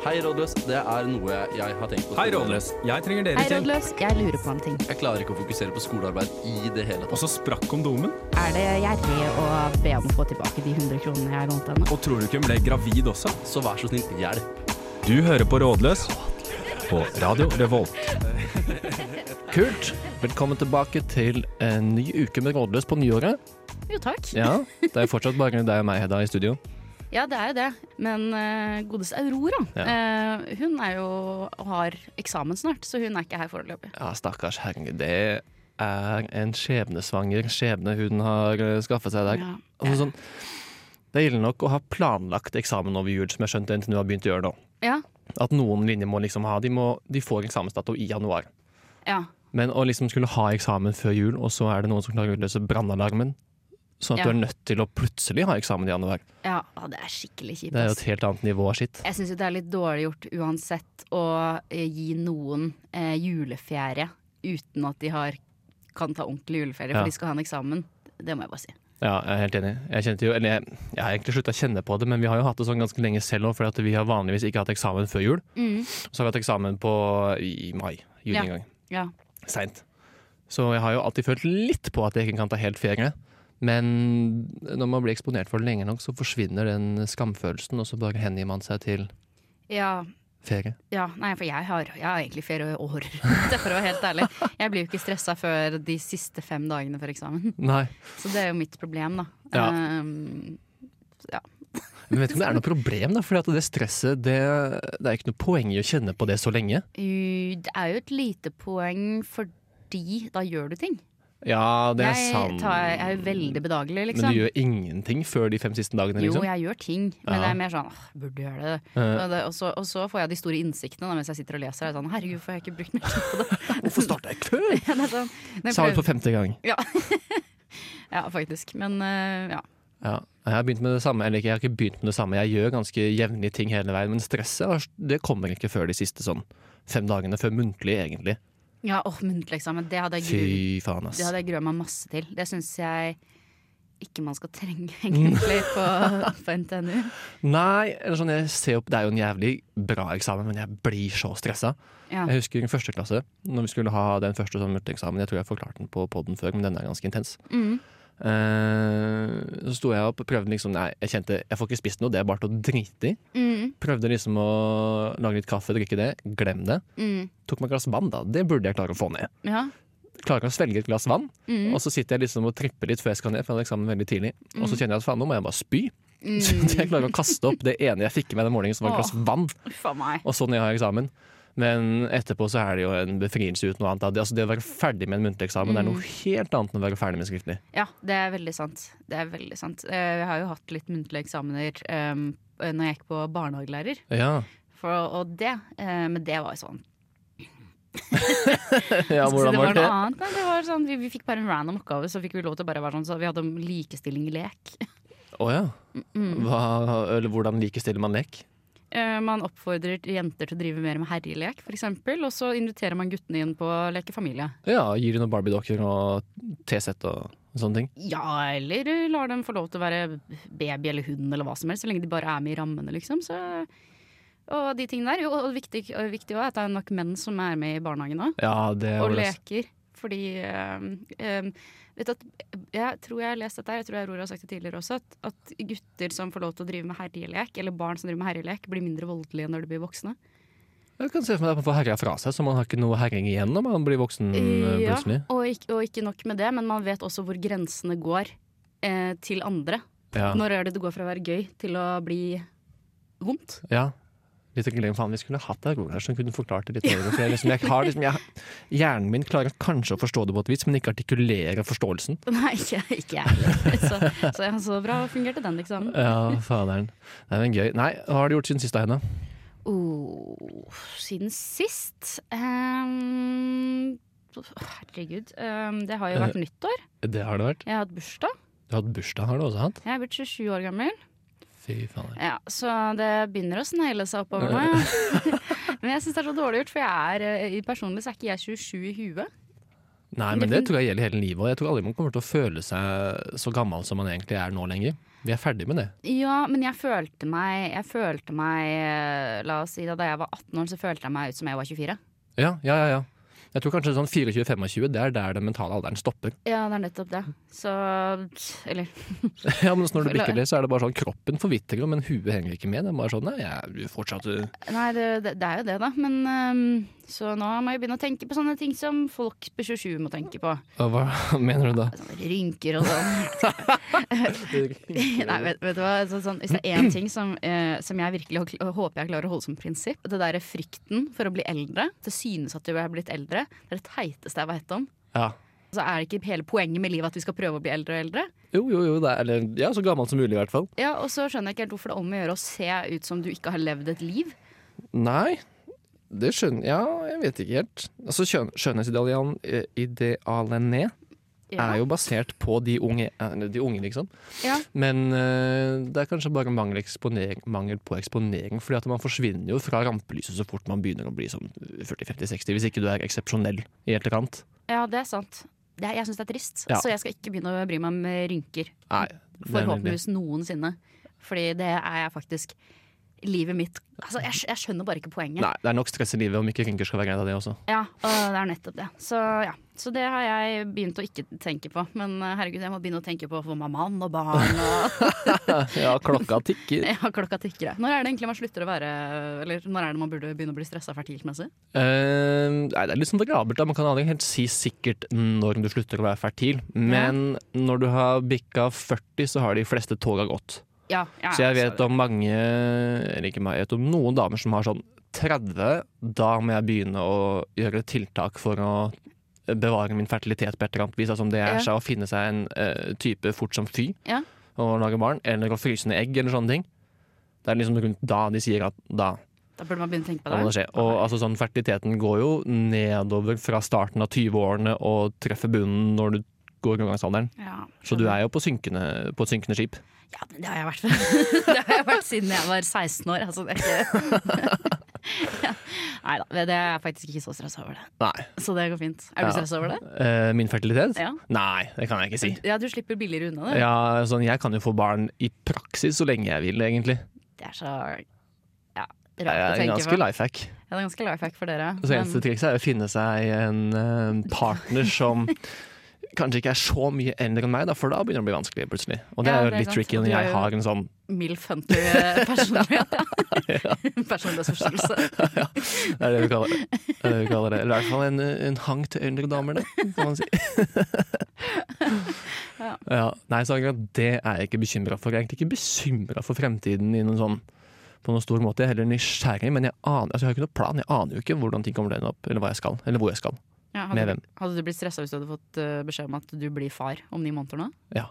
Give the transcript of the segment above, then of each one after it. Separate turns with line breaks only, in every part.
Hei, rådløs. Det er noe jeg har tenkt på.
Hei, Rådløs. Jeg trenger dere
Hei,
til.
rådløs. Jeg lurer på en ting.
Jeg klarer ikke å fokusere på skolearbeid i det hele
Og
tatt.
så sprakk kondomen.
Er det gjerrig å be om å få tilbake de 100 kronene jeg lånte henne?
Og tror du ikke hun ble gravid også?
Så vær så snill, hjelp.
Du hører på Rådløs på Radio Revolt.
Kult. Velkommen tilbake til en ny uke med Rådløs på nyåret.
Jo, takk. Ja,
Ja, Det er fortsatt bare deg og meg, Hedda, i studio.
det er jo det. Men eh, godeste Aurora,
Ja.
eh, hun er jo har eksamen snart, så hun er ikke her foreløpig.
Ja, stakkars herre. Det er en skjebnesvanger skjebne hun har eh, skaffet seg der.
Ja.
Altså, sånn, det er ille nok å ha planlagt eksamen over jul, som jeg skjønte NTNU har begynt å gjøre nå.
Ja.
At noen linjer må liksom ha De, må, de får eksamensdato i januar.
ja.
Men å liksom skulle ha eksamen før jul, og så er det noen som klarer å utløse brannalarmen, sånn at
Ja.
du er nødt til å plutselig ha eksamen i januar.
Ja, ah, det er skikkelig kjipt.
Det er jo
ass.
et helt annet nivå av skitt.
Jeg syns jo det er litt dårlig gjort uansett å eh, gi noen eh, juleferie uten at de har, kan ta ordentlig juleferie,
Ja.
for de skal ha en eksamen. Det må jeg bare si.
Ja, jeg er helt enig. Jeg kjente jo, eller jeg, jeg har egentlig slutta å kjenne på det, men vi har jo hatt det sånn ganske lenge selv òg, for at vi har vanligvis ikke hatt eksamen før jul.
Mm.
Så har vi hatt eksamen på i mai. Juni
Ja.
en gang.
Ja.
Seint. Så jeg har jo alltid følt litt på at jeg ikke kan ta helt ferie. Men når man blir eksponert for det lenge nok, så forsvinner den skamfølelsen, og så bare hengir man seg til
ja.
ferie.
Ja, nei, for jeg har, jeg har egentlig ferie år, for å være helt ærlig. Jeg blir jo ikke stressa før de siste fem dagene før eksamen.
Nei.
Så det er jo mitt problem, da.
Ja.
Ehm,
Men vet ikke om det er noe problem, da, for det stresset det, det er ikke noe poeng i å kjenne på det så lenge.
u- det er jo et lite poeng fordi da gjør du ting.
Ja, det er
jeg,
sant.
tar, jeg er jo veldig bedagelig, liksom.
Men du gjør ingenting før de fem siste dagene,
Jo,
liksom?
jeg gjør ting, men
Ja.
det er mer sånn åh, burde gjøre det.
Eh.
Og, det og, så, og så får jeg de store innsiktene da, mens jeg sitter og leser. Jeg er sånn, Herregud, hvorfor har jeg ikke brukt mer tid på det?
Hvorfor starta jeg før?
Ja, det er sånn, når jeg
Sa det
prøver-
for femte gang.
ja, faktisk. Men eh, ja.
Ja. Jeg har begynt med det samme, eller ikke, jeg har ikke begynt med det samme. Jeg gjør ganske jevnlige ting hele veien, men stresset har- det kommer ikke før de siste sånn fem dagene. Før muntlig, egentlig.
ja åh, muntlig eksamen. Det hadde jeg gruet
Fy faen, ass.
Det hadde jeg grua meg masse til. Det syns jeg ikke man skal trenge egentlig på, på NTNU.
Nei, eller sånn, jeg ser opp, det er jo en jævlig bra eksamen, men jeg blir så stressa.
Ja.
Jeg husker i første klasse, når vi skulle ha den første sånn muntligeksamen. Jeg tror jeg forklarte den på poden før, men den er ganske intens.
Mm.
Eh, så sto jeg opp og prøvde liksom Nei, jeg kjente jeg får ikke spist noe, det er bare til å drite i.
Mm,
Prøvde liksom å lage litt kaffe, drikke det. Glem det.
mm,
Tok meg et glass vann, da. Det burde jeg klare å få ned.
ja.
Klarer å svelge et glass vann,
Mm,
og så sitter jeg liksom og tripper litt før jeg skal ned, for jeg hadde eksamen veldig tidlig. Og så kjenner jeg at faen, nå må jeg bare spy. Så
mm.
jeg klarer å kaste opp det ene jeg fikk med den morgenen, som var et glass vann.
Uff a meg.
Og sånn jeg har eksamen. Men etterpå så er det jo en befrielse uten noe annet. da. Det, altså, det å være ferdig med en muntlig eksamen
Mm.
det er noe helt annet enn å være ferdig med skriftlig.
Ja, det er veldig sant. Det er veldig sant. Eh, Jeg har jo hatt litt muntlige eksamener um, når jeg gikk på barnehagelærer,
Ja,
for, og det eh, Men det var jo sånn.
ja
så
hvordan
det
var det?
noe annet. Nei, det var sånn vi, vi fikk bare en random oppgave, så fikk vi lov til å bare være sånn, så vi hadde om likestilling i lek.
Å ja. Hva, eller hvordan likestiller man lek?
Eh, Man oppfordrer jenter til å drive mer med herrelek, f.eks. Og så inviterer man guttene inn på å leke familie.
Ja, gir de noen Barbie-dokker og T-sett og sånne ting.
Ja, eller lar dem få lov til å være baby eller hund eller hva som helst, så lenge de bare er med i rammene, liksom. Så, og de tingene der. Jo, Og viktig, og viktig også er at det er nok menn som er med i barnehagen òg,
Ja, det
og
var det.
leker. Fordi eh, eh, vet du, at, Jeg tror jeg har lest dette, her, jeg tror Aurora har sagt det tidligere også, at, at gutter som får lov til å drive med herrelek, eller barn som driver med herrelek, blir mindre voldelige når de blir voksne.
Jeg kan se for meg at man får herja fra seg, så man har ikke noe herjing igjen når man blir voksen eh,
Ja,
plutselig.
og ikke, og ikke nok med det, men man vet også hvor grensene går eh, til andre.
Ja.
Når er det det går fra å være gøy til å bli vondt?
ja. Litt å glemme, faen, Vi skulle hatt ei Roar som kunne forklart det litt bedre. For jeg, liksom, jeg har, liksom, jeg, hjernen min klarer kanskje å forstå det på et vis, men ikke artikulere forståelsen.
Nei, ikke, ikke jeg heller. Så, så, ja, så bra fungerte den eksamen.
Ja, faderen. Det er men gøy. Nei, hva har du gjort siden sist, da, Hedda?
Oh, siden sist Ehm, Herregud. ehm, det har jo
Eh.
vært nyttår.
Det har det vært.
Jeg har hatt bursdag.
Du har hatt bursdag, har du også hatt?
Jeg er blitt 27 år gammel.
Fy fader.
Ja, Så det begynner å snegle seg oppover nå. Ja. Men jeg syns det er så dårlig gjort, for jeg er, eh, personlig så er ikke jeg 27 i huet.
Nei, men det tror jeg gjelder hele livet. Og jeg tror aldri man kommer til å føle seg så gammel som man egentlig er nå lenger. Vi er ferdig med det.
Ja, men jeg følte meg Jeg følte meg eh, La oss si da, da jeg var 18 år, så følte jeg meg ut som jeg var 24.
Ja, ja, ja. ja. Jeg tror kanskje sånn 24-25, det er der den mentale alderen stopper.
Ja, det er nettopp det. Så Eller
ja, men Når du bikker det, så er det bare sånn kroppen forvitrer, men huet henger ikke med. Det er bare sånn, nei, jeg er fortsatt uh,
Nei, det, det, det er jo det, da. Men ehm, så nå må jeg begynne å tenke på sånne ting som folk på 27 må tenke på.
Hva mener du da?
Sånne rynker og sånn. Nei, vet, vet du hva? Så, sånn, hvis det er én ting som, eh, som jeg virkelig hå- håper jeg klarer å holde som prinsipp, det derre frykten for å bli eldre, det synes at du er blitt eldre, det er det teiteste jeg veit om.
Ja.
Så er det ikke hele poenget med livet at vi skal prøve å bli eldre og eldre.
Jo, jo, jo. Det er, eller, ja, så gammel som mulig, i hvert fall.
Ja, Og så skjønner jeg ikke helt hvorfor det er om å gjøre å se ut som du ikke har levd et liv.
Nei, det skjønner Ja, jeg vet ikke helt. Altså, skjøn, Skjønnhetsidealen eh, idealene
Ja.
er jo basert på de unge, eh, de unge liksom.
Ja.
Men eh, det er kanskje bare mangel, eksponering, mangel på eksponering. Fordi at man forsvinner jo fra rampelyset så fort man begynner å bli sånn 40-50-60, hvis ikke du er eksepsjonell i etterkant.
ja, det er sant. Det, er- jeg syns det er trist,
Ja.
så jeg skal ikke begynne å bry meg om rynker.
Nei. det er nemlig-
Forhåpentligvis noensinne. Fordi det er jeg faktisk. Livet mitt Altså, jeg, skj- jeg skjønner bare ikke poenget.
Nei, det er nok stress i livet om ikke rynker skal være greit av det også.
Ja, og det er nettopp det. Så ja, så det har jeg begynt å ikke tenke på. Men eh, herregud, jeg må begynne å tenke på å få meg mann og barn og
Ja, klokka tikker.
ja, klokka tikker. Når er det egentlig man slutter å være Eller når er det man burde begynne å bli stressa fertilmessig?
Eh, nei, det er litt sånn variabelt. da. Man kan aldri helt si sikkert når du slutter å være fertil. Men når du har bikka 40, så har de fleste toga gått.
Ja, ja,
Så jeg vet om mange Eller ikke meg, jeg vet om noen damer som har sånn 30. Da må jeg begynne å gjøre tiltak for å bevare min fertilitet på et eller annet vis. Altså om det
Ja.
er seg å finne seg en eh, type fort som fy
Ja.
og lage barn, eller å fryse ned egg eller sånne ting. Det er liksom rundt da de sier at da
Da burde man begynne å tenke på
da må det
det.
skje. Og altså, sånn, fertiliteten går jo nedover fra starten av 20-årene og treffer bunnen når du går overgangsalderen.
Ja,
Så du er jo på, synkende, på et synkende skip.
ja, men det har jeg vært Det har jeg vært siden jeg var 16 år. Altså, det er ikke Nei da, det er jeg faktisk ikke så stressa over det.
Nei.
Så det går fint. Er du
Ja.
stressa over det?
Eh, min fertilitet?
Ja.
Nei, det kan jeg ikke si.
ja, du slipper billigere unna det.
Ja, sånn, jeg kan jo få barn i praksis så lenge jeg vil, egentlig.
Det er så ja,
Det
rart å
er
tenke på.
ganske life hack.
Ja, det er ganske life hack for dere.
Så eneste
men-
trikset er å finne seg en eh, partner som kanskje ikke er så mye eldre enn meg, da, for da begynner det å bli vanskelig plutselig. Og det
Ja,
er jo
det er
litt
sant.
tricky
Og du
når
er
jeg
jo-
har en sånn
Milf Hunter personlighet. Personlighetsforstyrrelse.
Det er det vi kaller det. det, er det, vi kaller det. Eller i hvert fall en, en hang til eldre damer, det, kan man si.
Ja.
ja. Nei, så akkurat det er jeg ikke bekymra for. Jeg er egentlig ikke bekymra for fremtiden i noen sånn på noen stor måte. Jeg er heller nysgjerrig, men jeg, aner, altså jeg har ikke noen plan. Jeg aner jo ikke hvordan ting kommer til å ende opp, eller hva jeg skal, eller hvor jeg skal.
Ja,
Med
hadde,
hvem?
hadde du blitt stressa hvis du hadde fått eh, beskjed om at du blir far om ni måneder nå?
Ja.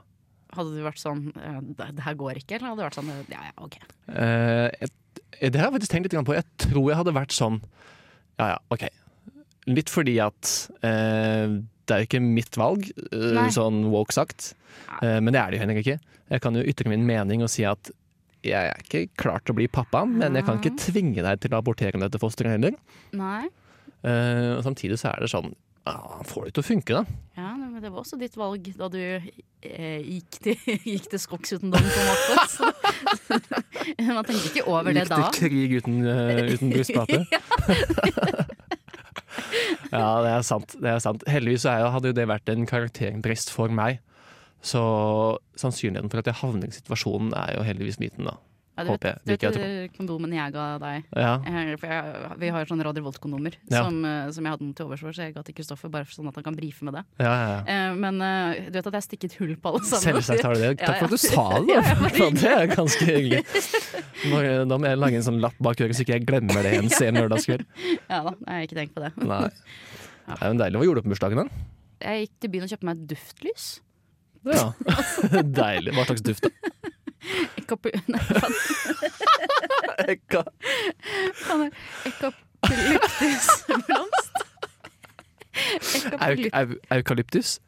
Hadde du vært sånn eh, det, det her går ikke, eller hadde du vært sånn ja ja, ok.
Eh, jeg, det har jeg faktisk tenkt litt grann på. Jeg tror jeg hadde vært sånn Ja ja, OK. Litt fordi at eh, det er jo ikke mitt valg, eh,
Nei.
sånn woke sagt. Eh, men det er det jo heller ikke. Jeg kan jo ytre min mening og si at jeg er ikke klar til å bli pappa, men jeg kan ikke tvinge deg til å abortere dette fosteret heller.
Nei.
Eh, og samtidig så er det sånn ah, han Får det til å funke, da?
Ja, men det var også ditt valg da du eh, gikk, til, gikk til skogs uten dom, på en måte. Så. Man tenker ikke over det
Gikk
da.
til krig uten, eh, uten brystplate? ja, det er sant. Det er sant. Heldigvis så er, jo- hadde jo det vært en karakterbrist for meg. Så sannsynligheten for at jeg havner i situasjonen er jo heldigvis liten, da.
Ja, du vet,
håper jeg.
du vet
Liker jeg
de kondomene jeg ga deg?
Ja,
Eh, For jeg, vi har sånne Radio Volt-kondomer
Ja.
som, eh, som jeg hadde noe til overs for, så jeg ga til Kristoffer bare for sånn at han kan brife med det.
ja, ja.
Eh, Men eh, du vet at jeg har stikket hull på alle sammen?
Selvsagt har du det.
Ja,
Takk for
ja.
at du sa
Sånn.
det!
Ja,
da.
ja, bare
For det er ganske hyggelig. Bare- Da må jeg lage en sånn lapp bak øret, så ikke jeg glemmer det en sen lørdagskveld.
Ja da, jeg har ikke tenkt på det.
Nei. Det er jo deilig. Hva gjorde du på bursdagen, da?
Jeg gikk til byen og kjøpte meg et duftlys.
Ja. Deilig. Hva slags duft?
Kapu... Nei, faen,
da?
faen er Ekapolyptusblomst.
Euk-
Ekapolyp-
au- Eukalyptus?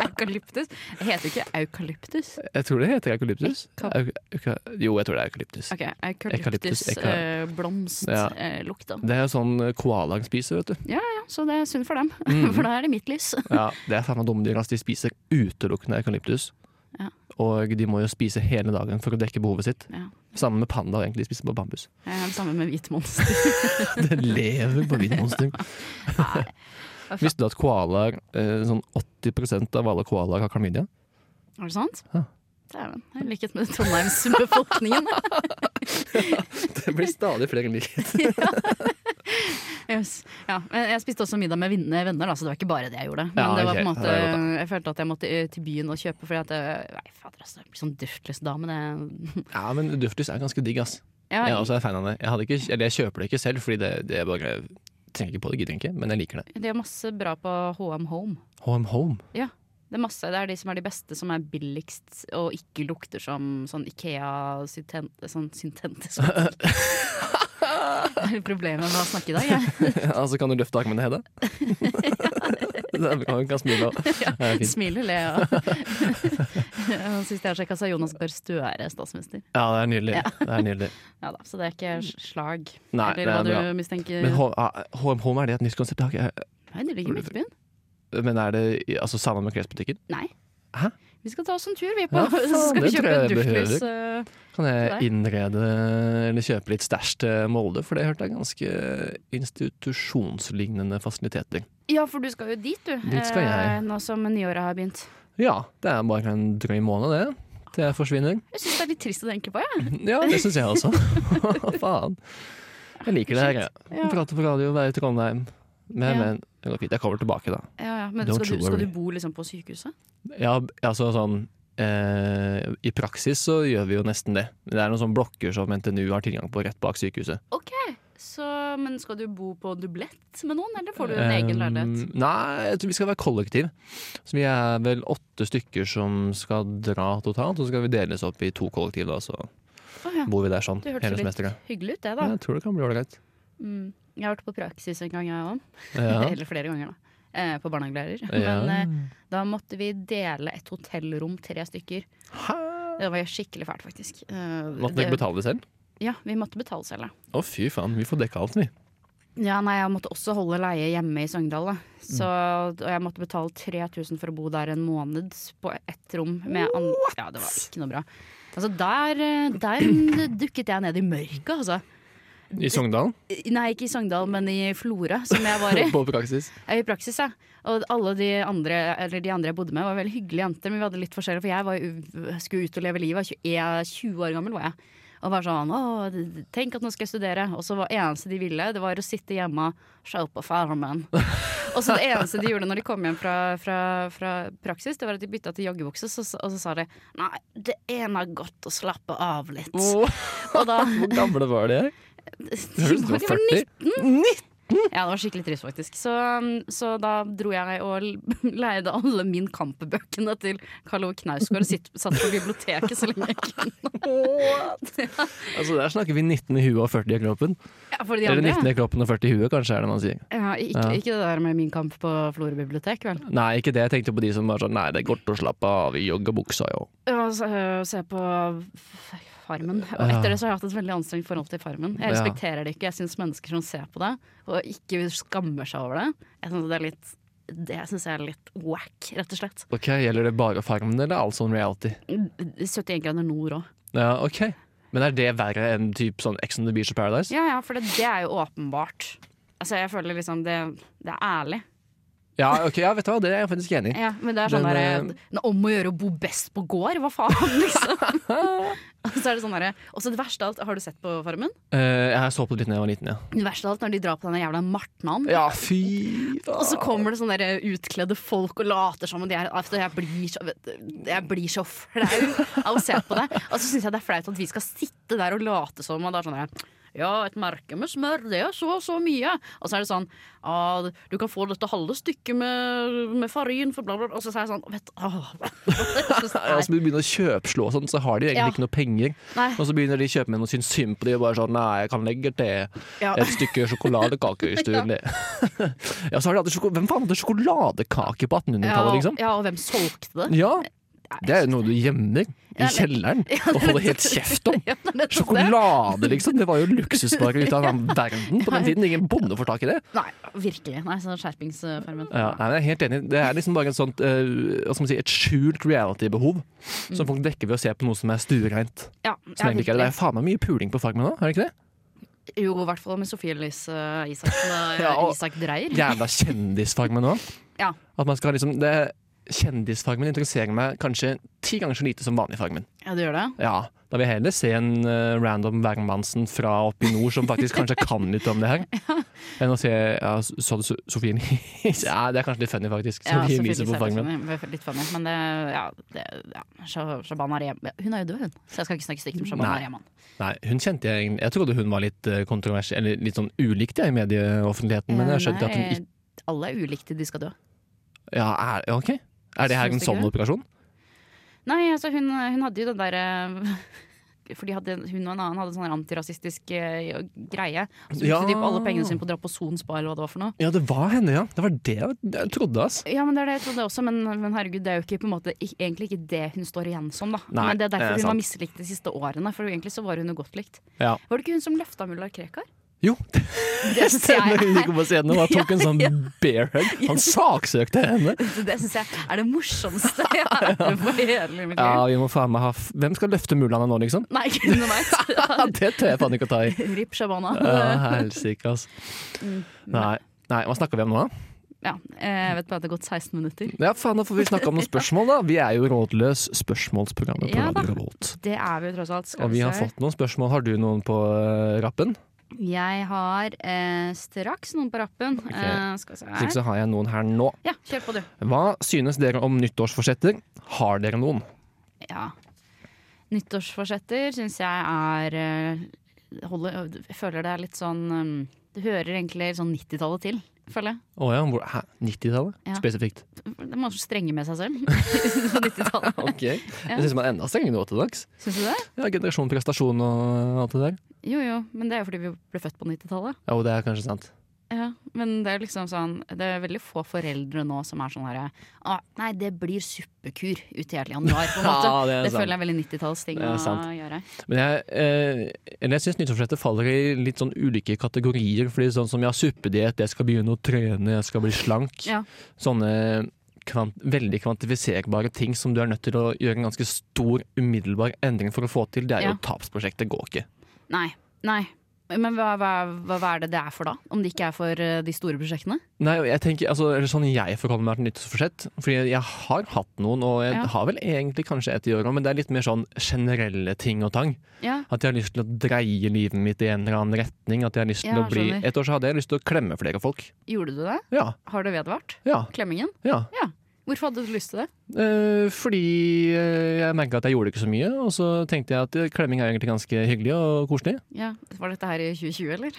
Eukalyptus. Det heter ikke eukalyptus.
Jeg tror det heter eukalyptus.
Eka-
Euk euka- jo, jeg tror det er eukalyptus.
Ok,
Eukalyptus,
eukalyptus,
eka-
eh, blomst,
Ja.
eh, lukt da.
Det er jo sånn koalaen spiser, vet du.
Ja, så det er synd for dem,
Mm.
for da er det mitt lys.
Ja, det er samme dumme dyr. ass. De spiser utelukkende eukalyptus.
Ja.
Og de må jo spise hele dagen for å dekke behovet sitt.
Ja.
Sammen med pandaer, egentlig. De spiser bare bambus.
Jeg er det samme med hvit monster.
Det lever på vindmonster. Visste du at koalaer eh, Sånn 80 av alle koalaer har klamydia?
Er det sant?
Ja.
Dæven. I likhet med Trondheimsbefolkningen.
Det blir stadig flere likheter.
Yes. Ja, men jeg spiste også middag med vin- venner, da, så det var ikke bare det jeg gjorde. Men
Ja,
det var
ok.
på en
Ja,
måte,
det er godt,
jeg følte at jeg måtte eh, til byen og kjøpe, fordi at jeg, Nei, fader, altså, jeg blir sånn duftløs dame, det
Ja, men Duftus er ganske digg, ass.
ja,
Jeg er også fan av det. Jeg, hadde ikke, eller jeg kjøper det ikke selv, fordi det, det er bare jeg tenker ikke på det, gidder ikke, men jeg liker det.
De har masse bra på HM Home.
HM Home.
Det er masse, det er de som er de beste, som er billigst og ikke lukter som sånn Ikea synten, sånn syntetisk Det er problemet med å snakke i dag. Jeg.
altså, kan du løfte armene, Hedda? det kan hun kan smile av. Det er fint.
Smiler, ler og Sist jeg sjekka, sa Jonas Gahr Støre statsminister.
Ja, det er nydelig. Det er nydelig.
Ja da, så det er ikke s- slag,
Mm. Nei, det
eller
er
hva du
bra.
mistenker.
Men H- ah, HM Home, er det et nytt konsept? Det har ikke jeg-
Nei, det ligger i Midtbyen.
Men er det i- altså, sammen med klesbutikken?
Nei.
Hæ?
Vi skal ta oss en tur, vi. På,
Ja, faen,
så skal vi
det tror
kjøpe en
jeg jeg
duftlys. eh,
Kan jeg
Til
innrede eller kjøpe litt stæsj til Molde? For det hørte jeg ganske institusjonslignende fasiliteter.
Ja, for du skal jo dit, du.
Dit skal jeg.
eh, Nå som nyåret har begynt.
Ja, det er bare en drøy måned, det. Til jeg forsvinner.
Jeg syns det er litt trist å tenke på, jeg.
Ja, det syns jeg også. Faen. Jeg liker det her. jeg.
Ja.
Prate på radio, være i Trondheim. Men,
Ja.
men. Det går fint. Jeg kommer tilbake, da.
Ja, ja. Men
Don't
skal
you
du, skal
worry.
du bo liksom på sykehuset?
Ja, altså sånn eh, I praksis så gjør vi jo nesten det. Men Det er noen sånne blokker som NTNU har tilgang på rett bak sykehuset.
OK, så, men skal du bo på dublett med noen, eller får du en egen
Eh,
leilighet?
Nei, jeg tror vi skal være kollektiv. Så vi er vel åtte stykker som skal dra totalt. Og så skal vi deles opp i to kollektiv, da, så
Å ja.
bor vi der sånn
Det
hele
hørtes litt
semesteret.
hyggelig ut, det, da.
Ja, jeg tror det kan bli ålreit.
Mm. Jeg har vært på praksis en gang, jeg òg.
Ja.
Eller flere ganger, da. Eh, på barnehagelærer.
Ja.
Men eh, da måtte vi dele et hotellrom, tre stykker. Det var skikkelig fælt, faktisk. Eh,
Måtte dere
det-
betale det selv?
Ja, vi måtte betale selv, ja.
Å, fy faen. Vi får dekka alt, vi.
Ja, nei, jeg måtte også holde leie hjemme i Sogndal, da. Så, og jeg måtte betale 3000 for å bo der en måned på ett rom. Med an ja, det var ikke noe bra. Altså, der, eh, der dukket jeg ned i mørket, altså.
I Sogndal.
Nei, ikke i Sogndal, men i Flora, som jeg var i.
På praksis.
Jeg er I praksis, ja. Og alle de andre, eller de andre jeg bodde med, var veldig hyggelige jenter, men vi hadde litt forskjellig, for jeg var, jo- skulle ut og leve livet. Jeg var 21 20 år gammel var jeg. Og var sånn Å, d- tenk at nå skal jeg studere. Og så var eneste de ville, det var å sitte hjemme og se på Farmen. og så det eneste de gjorde når de kom hjem fra, fra, fra praksis, det var at de bytta til joggebukse, så, og så sa de Nei, det ene er godt å slappe av litt. Og da
Hvor gamle var de?
de
Høres ut som
var,
de
de
var
var
40.
ja, det var skikkelig trist faktisk. Så, um, så da dro jeg og l- leide alle min kampbøkene til Karl Ove Knausgård og sitt, satt på biblioteket så lenge jeg kunne.
Altså, der snakker vi 19 i huet og 40 i kroppen.
Ja, for de
Eller
andre,
19 i kroppen og 40 i huet, kanskje er det man sier.
ja, ikke,
Ja.
ikke det der med Min kamp på Florø bibliotek, vel.
Nei, ikke det. Jeg tenkte på de som var sånn Nei, det er godt å slappe av i joggebuksa, jo.
Ja, så, øh, se på f- Farmen. Og etter det så har jeg hatt et veldig anstrengt forhold til Farmen. Jeg
Ja.
respekterer det ikke. Jeg syns mennesker som ser på det, og ikke skammer seg over det, jeg syns det er litt det syns jeg er litt wack, rett og slett.
Ok, Gjelder det bare Farmen eller all sånn reality?
71 grader nord òg.
Ja, ok. Men er det verre enn typ sånn Ex on the Beach og Paradise?
Ja, ja, for det, det er jo åpenbart. Altså, jeg føler liksom det, det er ærlig.
Ja, ok, ja, vet du hva, det er jeg faktisk enig i.
Ja, men det er sånn
Den,
derre
eh,
det er Om å gjøre å bo best på gård, hva faen, liksom? Og så er det sånn derre Og så det verste av alt, har du sett på Farmen?
Eh, jeg så på det litt da jeg var liten, ja.
Det verste av alt når de drar på denne jævla martnan.
Ja, fy faen.
Og så kommer det sånne der utkledde folk og later som om de er altså, jeg, blir så, vet du, jeg blir så flau av å se på det. Og så syns jeg det er flaut at vi skal sitte der og late som. Og da er sånn der, Ja, et merke med smør, det er så og så mye. Og så er det sånn ah, Du kan få dette halve stykket med, med farin, for bla, bla, bla. Og så er jeg sånn Vet du
Ja, så Altså, begynner de å kjøpslå og sånn, så har de egentlig
Ja.
ikke noe penger.
Nei.
Og så begynner de kjøpmennene å synes synd på de og bare sånn Nei, jeg kan legge til
Ja.
et stykke sjokoladekake hvis du
Ja.
vil det. ja, så har de alltid sjoko Hvem faen hadde sjokoladekake på 1800-tallet, liksom?
ja, og hvem solgte det?
Ja. Det er jo noe du gjemmer i
Ja, det-
kjelleren og holder helt kjeft om.
Ja, det er nettopp det.
Sjokolade, liksom! Det var jo luksusvarer ut av verden på den tiden. Ingen bonde får tak i det.
Nei, virkelig. Nei, sånn skjerpingsfarmen.
Ja, nei, men jeg er helt enig. Det er liksom bare et sånt, eh, hva skal man si, et skjult reality-behov som folk dekker ved å se på noe som er stuereint.
Mm. Ja,
Som egentlig ikke er det. Det er faen meg mye puling på Farmen nå, er det ikke det?
Jo, i hvert fall med Sofie Elise eh, Isaksen og
Ja, og-
Isak Dreyer.
Jævla kjendisfarmen nå.
Ja.
At man skal ha liksom det, Kjendisfarmen interesserer meg kanskje ti ganger så lite som vanlig Farmen.
Ja, du gjør det?
Ja, da vil jeg heller se en eh, random Wangmansen fra oppe i nord som faktisk kanskje kan litt om det her, enn å se ja, så du Sofie Elise? Ja, det er kanskje litt funny, faktisk.
Ja, Sofie
Sofie
Elise er
Elise på
litt
Farmen.
funny, litt funny, men det, ja, det ja. Sha- Shabana Rehman Hun er jo død, hun. Så jeg skal ikke snakke stygt om Shabana
Nei.
Rehman.
Nei, hun kjente jeg egentlig- Jeg trodde hun var litt eh, kontroversiell, eller litt sånn ulikt jeg, i medieoffentligheten, men jeg skjønte at hun ikke
ikke Eh, Alle er ulike til de skal dø.
Ja, er, ok. Er det her en
Syns du ikke
sånn operasjon?
Nei, altså hun, hun hadde jo den der eh, For de hadde, hun og en annen hadde en sånn antirasistisk eh, greie. Så brukte
Ja.
de alle pengene sine på å dra på Son Spa eller hva det var for noe.
Ja, det var henne, ja. Det var det jeg- jeg trodde, ass.
Ja, men det er det jeg trodde også, men, men herregud, det er jo ikke, på en måte, ik- egentlig ikke det hun står igjen som, da.
Nei,
men det er
det er
derfor hun var
sant.
mislikt de siste årene, for egentlig så var hun jo godt likt.
Ja.
Var det ikke hun som løfta Mullar Krekar?
Jo,
Det syns jeg,
hun gikk opp på scenen og tok en sånn bear hug. Han saksøkte henne.
det synes jeg er det morsomste jeg har hørt på hele mitt liv.
Ja, vi må faen meg ha f Hvem skal løfte mulaene nå, liksom?
Nei, ikke noe
Ja,
meg.
det tør jeg faen ikke å ta i.
Rip Shabana.
Ja, helsike, ass.
Mm.
Nei. Nei, Hva snakker vi om nå, da?
Ja, jeg vet bare at det har gått 16 minutter.
Ja, faen, Da får vi snakke om noen spørsmål, da. Vi er jo Rådløs spørsmålsprogrammet på
Ja da.
Radio Revolt.
Det er vi jo tross alt. Skal
Og vi har
se.
fått noen spørsmål. Har du noen på eh, rappen?
Jeg har eh, straks noen på rappen. Eh, skal vi se
Hvis ikke
her.
så har jeg noen her nå.
Ja, kjør på, du.
Hva synes dere om nyttårsforsetter? Har dere noen?
Ja. Nyttårsforsetter syns jeg er eh, holder, Jeg føler det er litt sånn um, Det hører egentlig sånn 90-tallet til, føler jeg.
Å ja, hvor- hæ? 90-tallet?
Ja.
Spesifikt.
Det er mange som strenger med seg selv. på 90-tallet.
Ok. Jeg syns man er enda strengere nå til dags.
Syns du det?
Ja, Generasjon prestasjon og alt det der.
Jo jo, men det er jo fordi vi ble født på 90-tallet.
Jo, det er kanskje sant.
Ja, men det er liksom sånn Det er veldig få foreldre nå som er sånn herre ah, Nei, det blir suppekur ut i hele januar, på en måte.
Ja, det er
det
sant.
føler jeg er veldig 90-tallsting
Det er
å
sant.
gjøre.
Men jeg, eh, eller jeg syns nyttårsforsetter faller i litt sånn ulike kategorier. Fordi sånn som jeg har suppediett, jeg skal begynne å trene, jeg skal bli slank.
Ja.
Sånne kvant veldig kvantifiserbare ting som du er nødt til å gjøre en ganske stor umiddelbar endring for å få til. Det er
Ja.
jo tapsprosjektet går ikke.
Nei. Nei. Men hva, hva, hva hva er det det er for da? Om det ikke er for eh, de store prosjektene?
Nei, jeg tenker, altså, eller sånn jeg forholder meg til nyttårsforsett. Fordi jeg har hatt noen, og jeg
Ja.
har vel egentlig kanskje et i året, men det er litt mer sånn generelle ting og tang.
Ja.
At jeg har lyst til å dreie livet mitt i en eller annen retning. At jeg har lyst til
Ja,
å bli
skjønner.
Et år så hadde jeg lyst til å klemme flere folk.
Gjorde du det?
Ja,
Har det vedvart?
ja,
Klemmingen?
ja.
Ja. Hvorfor hadde du lyst til det?
Eh, fordi eh, jeg merka at jeg gjorde ikke så mye, og så tenkte jeg at eh, klemming er egentlig ganske hyggelig og koselig.
Ja. Var dette her i 2020, eller?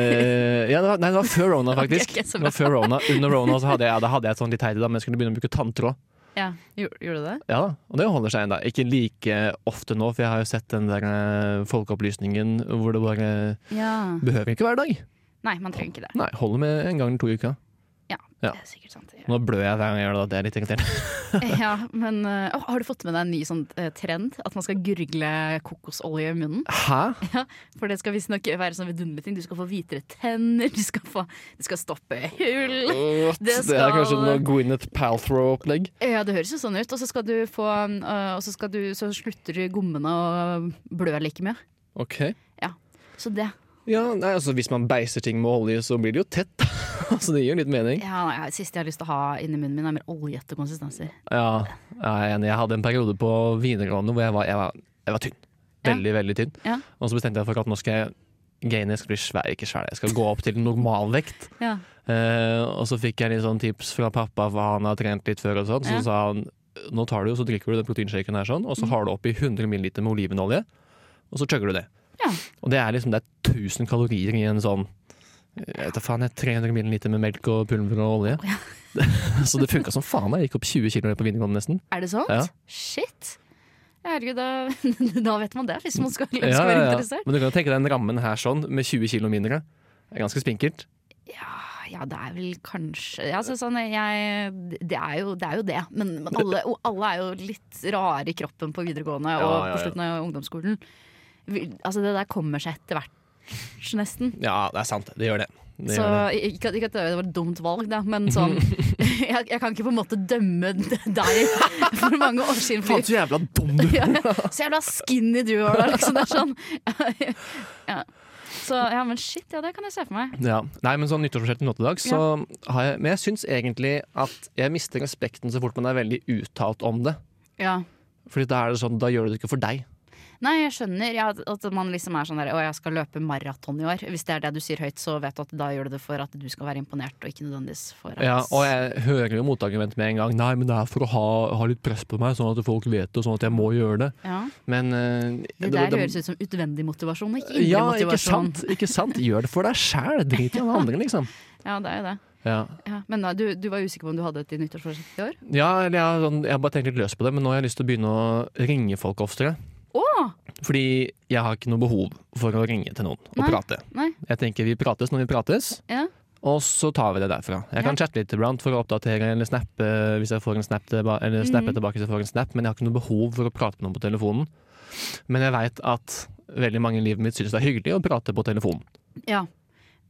Eh, ja, det var, nei, det var før Rona, faktisk.
Ok, ok, så
det var før Rona. Under Rona så hadde jeg, ja, da hadde jeg et sånt litt heidi, da, men jeg skulle begynne å bruke tanntråd.
Ja, Gjorde, gjorde du det?
Ja da, og det holder seg ennå. Ikke like ofte nå, for jeg har jo sett den der eh, folkeopplysningen hvor det bare
Ja.
behøver ikke hver dag.
Nei, man trenger ikke det.
Nei, holder med en gang eller to i uka.
Ja,
Ja.
det er sikkert sant.
Nå blør jeg hver gang jeg gjør det, da. det er litt irriterende.
Ja, men eh, å, Har du fått med deg en ny sånn eh, trend? At man skal gurgle kokosolje i munnen?
Hæ?
For det skal visstnok være sånn vidunderlig ting. Du skal få hvitere tenner, du skal, få, du skal stoppe hull
Det,
Det skal-
er kanskje noe Gwyneth Palthrow-opplegg.
Ja, det høres jo sånn ut. Og så skal du få eh, Og så, skal du, så slutter gommene å blø like mye.
Ok.
Ja. Så det
Ja, nei, altså Hvis man beiser ting med olje, så blir det jo tett. da. altså, det gir litt mening.
Ja, nei, siste jeg har lyst til å ha inni munnen min, er mer oljete konsistenser.
Ja, jeg er enig. Jeg hadde en periode på videregående hvor jeg var, jeg var, jeg var tynn.
Ja.
Veldig, veldig tynn.
Ja.
Og så bestemte jeg for at nå skal jeg gaine, jeg skal bli svær, ikke svær. Jeg skal gå opp til normalvekt.
Ja.
Eh, og så fikk jeg litt sånn tips fra pappa, for han har trent litt før og sånn. Så
Ja. Mm.
sa han nå tar du, og så drikker du den proteinshaken her sånn, og så har du oppi 100 ml med olivenolje, og så chugger du det.
Ja.
Og det er liksom det er 1000 kalorier i en sånn jeg vet da faen, jeg 300 milliliter med melk og pulver og olje. så det funka som faen. Jeg gikk opp 20 kilo på videregående nesten.
Er det sånt?
Ja.
Shit! Herregud, da, da vet man det, hvis man skal, skal
Ja, ja,
være
ja.
interessert.
Men du kan jo tenke deg den rammen her sånn, med 20 kilo mindre. Det er ganske spinkelt.
Ah, Ja, det er vel kanskje ja, altså, sånn, jeg, det, er jo, det er jo det, men, men alle, og alle er jo litt rare i kroppen på videregående og
ja, ja.
på slutten av ungdomsskolen. Vi, altså, det der kommer seg etter hvert, nesten.
Ja, det er sant. Det gjør det. det,
Så
gjør det.
ikke, at- ikke at det var et dumt valg, da, men sånn jeg, jeg kan ikke på en måte dømme deg for mange år siden. fordi-
Faen, så jævla dum du
ja, så jævla skinny du var da, liksom. Det er sånn. Ja. Så ja, men shit, ja, det kan jeg se for meg.
Ja. Nei, men sånn nyttårsforsett nå til dags, så har jeg Men jeg syns egentlig at jeg mister respekten så fort man er veldig uttalt om det.
Ja.
Fordi da er det sånn, da gjør du det ikke for deg.
Nei, jeg skjønner ja, at- at man liksom er sånn der Å, jeg skal løpe maraton i år. Hvis det er det du sier høyt, så vet du at da gjør du det for at du skal være imponert, og ikke nødvendigvis for at
Ja, og jeg hører jo motargumentet med en gang. Nei, men det er for å ha, ha litt press på meg, sånn at folk vet det, og sånn at jeg må gjøre det.
Ja.
Men eh,
Det der høres ut som utvendig motivasjon, og ikke indre
Ja, ikke
motivasjon.
sant, ikke sant. Gjør det for deg sjæl. Drit i alle andre, liksom.
Ja, det er jo det.
Ja,
Ja. Men da, du, du var usikker på om du hadde et i nyttårsforsett i år?
ja eller jeg, har sånn, jeg har bare tenkt litt løs på det, men nå har jeg lyst til å begynne å ringe folk oftere.
Å!
Fordi jeg har ikke noe behov for å ringe til noen og
Nei.
prate.
Nei.
Jeg tenker vi prates når vi prates,
Ja.
og så tar vi det derfra. Jeg kan chatte litt iblant for å oppdatere eller snappe hvis jeg får en snap tilba eller snappe
Mhm.
tilbake hvis jeg får en snap, men jeg har ikke noe behov for å prate med noen på telefonen. Men jeg veit at veldig mange i livet mitt syns det er hyggelig å prate på telefonen.
ja.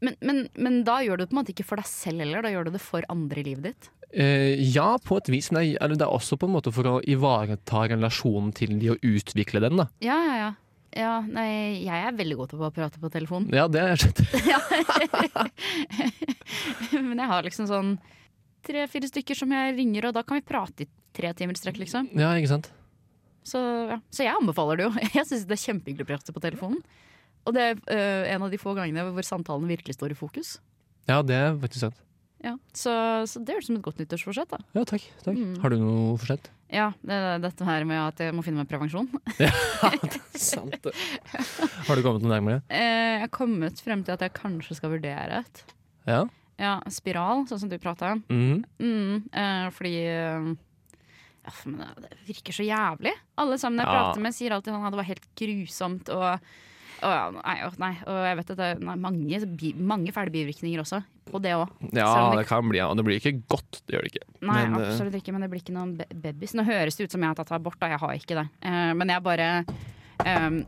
Men, men, men da gjør du det på en måte ikke for deg selv heller, da gjør du det for andre i livet ditt.
Eh, ja, på et vis, men det er, eller det er også på en måte for å ivareta relasjonen til de og utvikle den. da.
Ja, ja, ja. Ja, nei, jeg er veldig god til å prate på telefonen.
Ja, det er skjønt.
Men jeg har liksom sånn tre-fire stykker som jeg ringer, og da kan vi prate i tre timer i strekk, liksom.
Ja, ikke sant?
Så, ja. Så jeg anbefaler det jo. Jeg syns det er kjempehyggelig å prate på telefonen. Og det er øh, en av de få gangene hvor samtalen virkelig står i fokus.
Ja, det er faktisk sant.
Ja. Så, så det høres ut som et godt nyttårsforsett, da.
Ja, takk. takk.
Mhm.
Har du noe forsett?
Ja, det, er dette her med at jeg må finne meg prevensjon.
sant det. Har du kommet noe nærmere?
Eh, jeg har kommet frem til at jeg kanskje skal vurdere et.
Ja.
Ja, spiral, sånn som du prata om.
Mhm.
Mm, eh, fordi eh, ja, men eh, det, det virker så jævlig. Alle sammen jeg
Ja.
prater med, sier alltid sånn, at det var helt grusomt. Og, og, ja, nei, og, nei, og jeg vet at det er nei, mange, bi, mange fæle bivirkninger også. På det òg. Selv
Ja,
om
det kan bli, ja. og det blir ikke godt. Det gjør det ikke.
Nei,
Men, eh,
absolutt ikke. Men det blir ikke noen be babys. Nå høres det ut som jeg har tatt abort, da. Jeg har ikke det. Eh, men jeg bare ehm,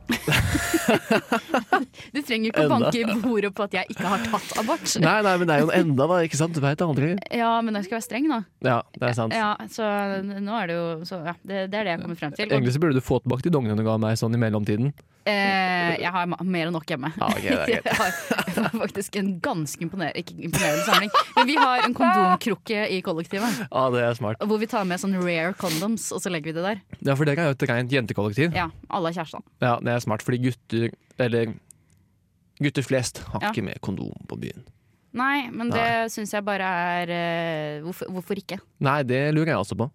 Du trenger ikke å
Enda.
banke i bordet på at jeg ikke har tatt abort.
Nei, nei, men det er jo en enda, da. Ikke sant? Du veit aldri.
Ja, men jeg skal være streng, da.
Ja, det er sant.
Ja, så nå er det jo så, ja, det, det er det jeg kommer frem til. Og,
Egentlig så burde du få tilbake de dongene du ga meg sånn i mellomtiden.
eh, jeg har ma- mer enn nok hjemme.
Ja, Ah, ok, det er greit.
Jeg har jeg har faktisk en ganske imponer ikke imponerende samling. Men vi har en kondomkrukke i kollektivet.
Ja, det er smart.
Hvor vi tar med sånn rare condoms, og så legger vi det der.
Ja, for dere er jo et rent jentekollektiv.
Ja, alle er kjærestene.
Ja, det er smart, fordi gutter, eller gutter flest, har
Ja.
ikke med kondom på byen.
Nei, men det syns jeg bare er eh, hvorfor, hvorfor ikke?
Nei, det lurer jeg også på.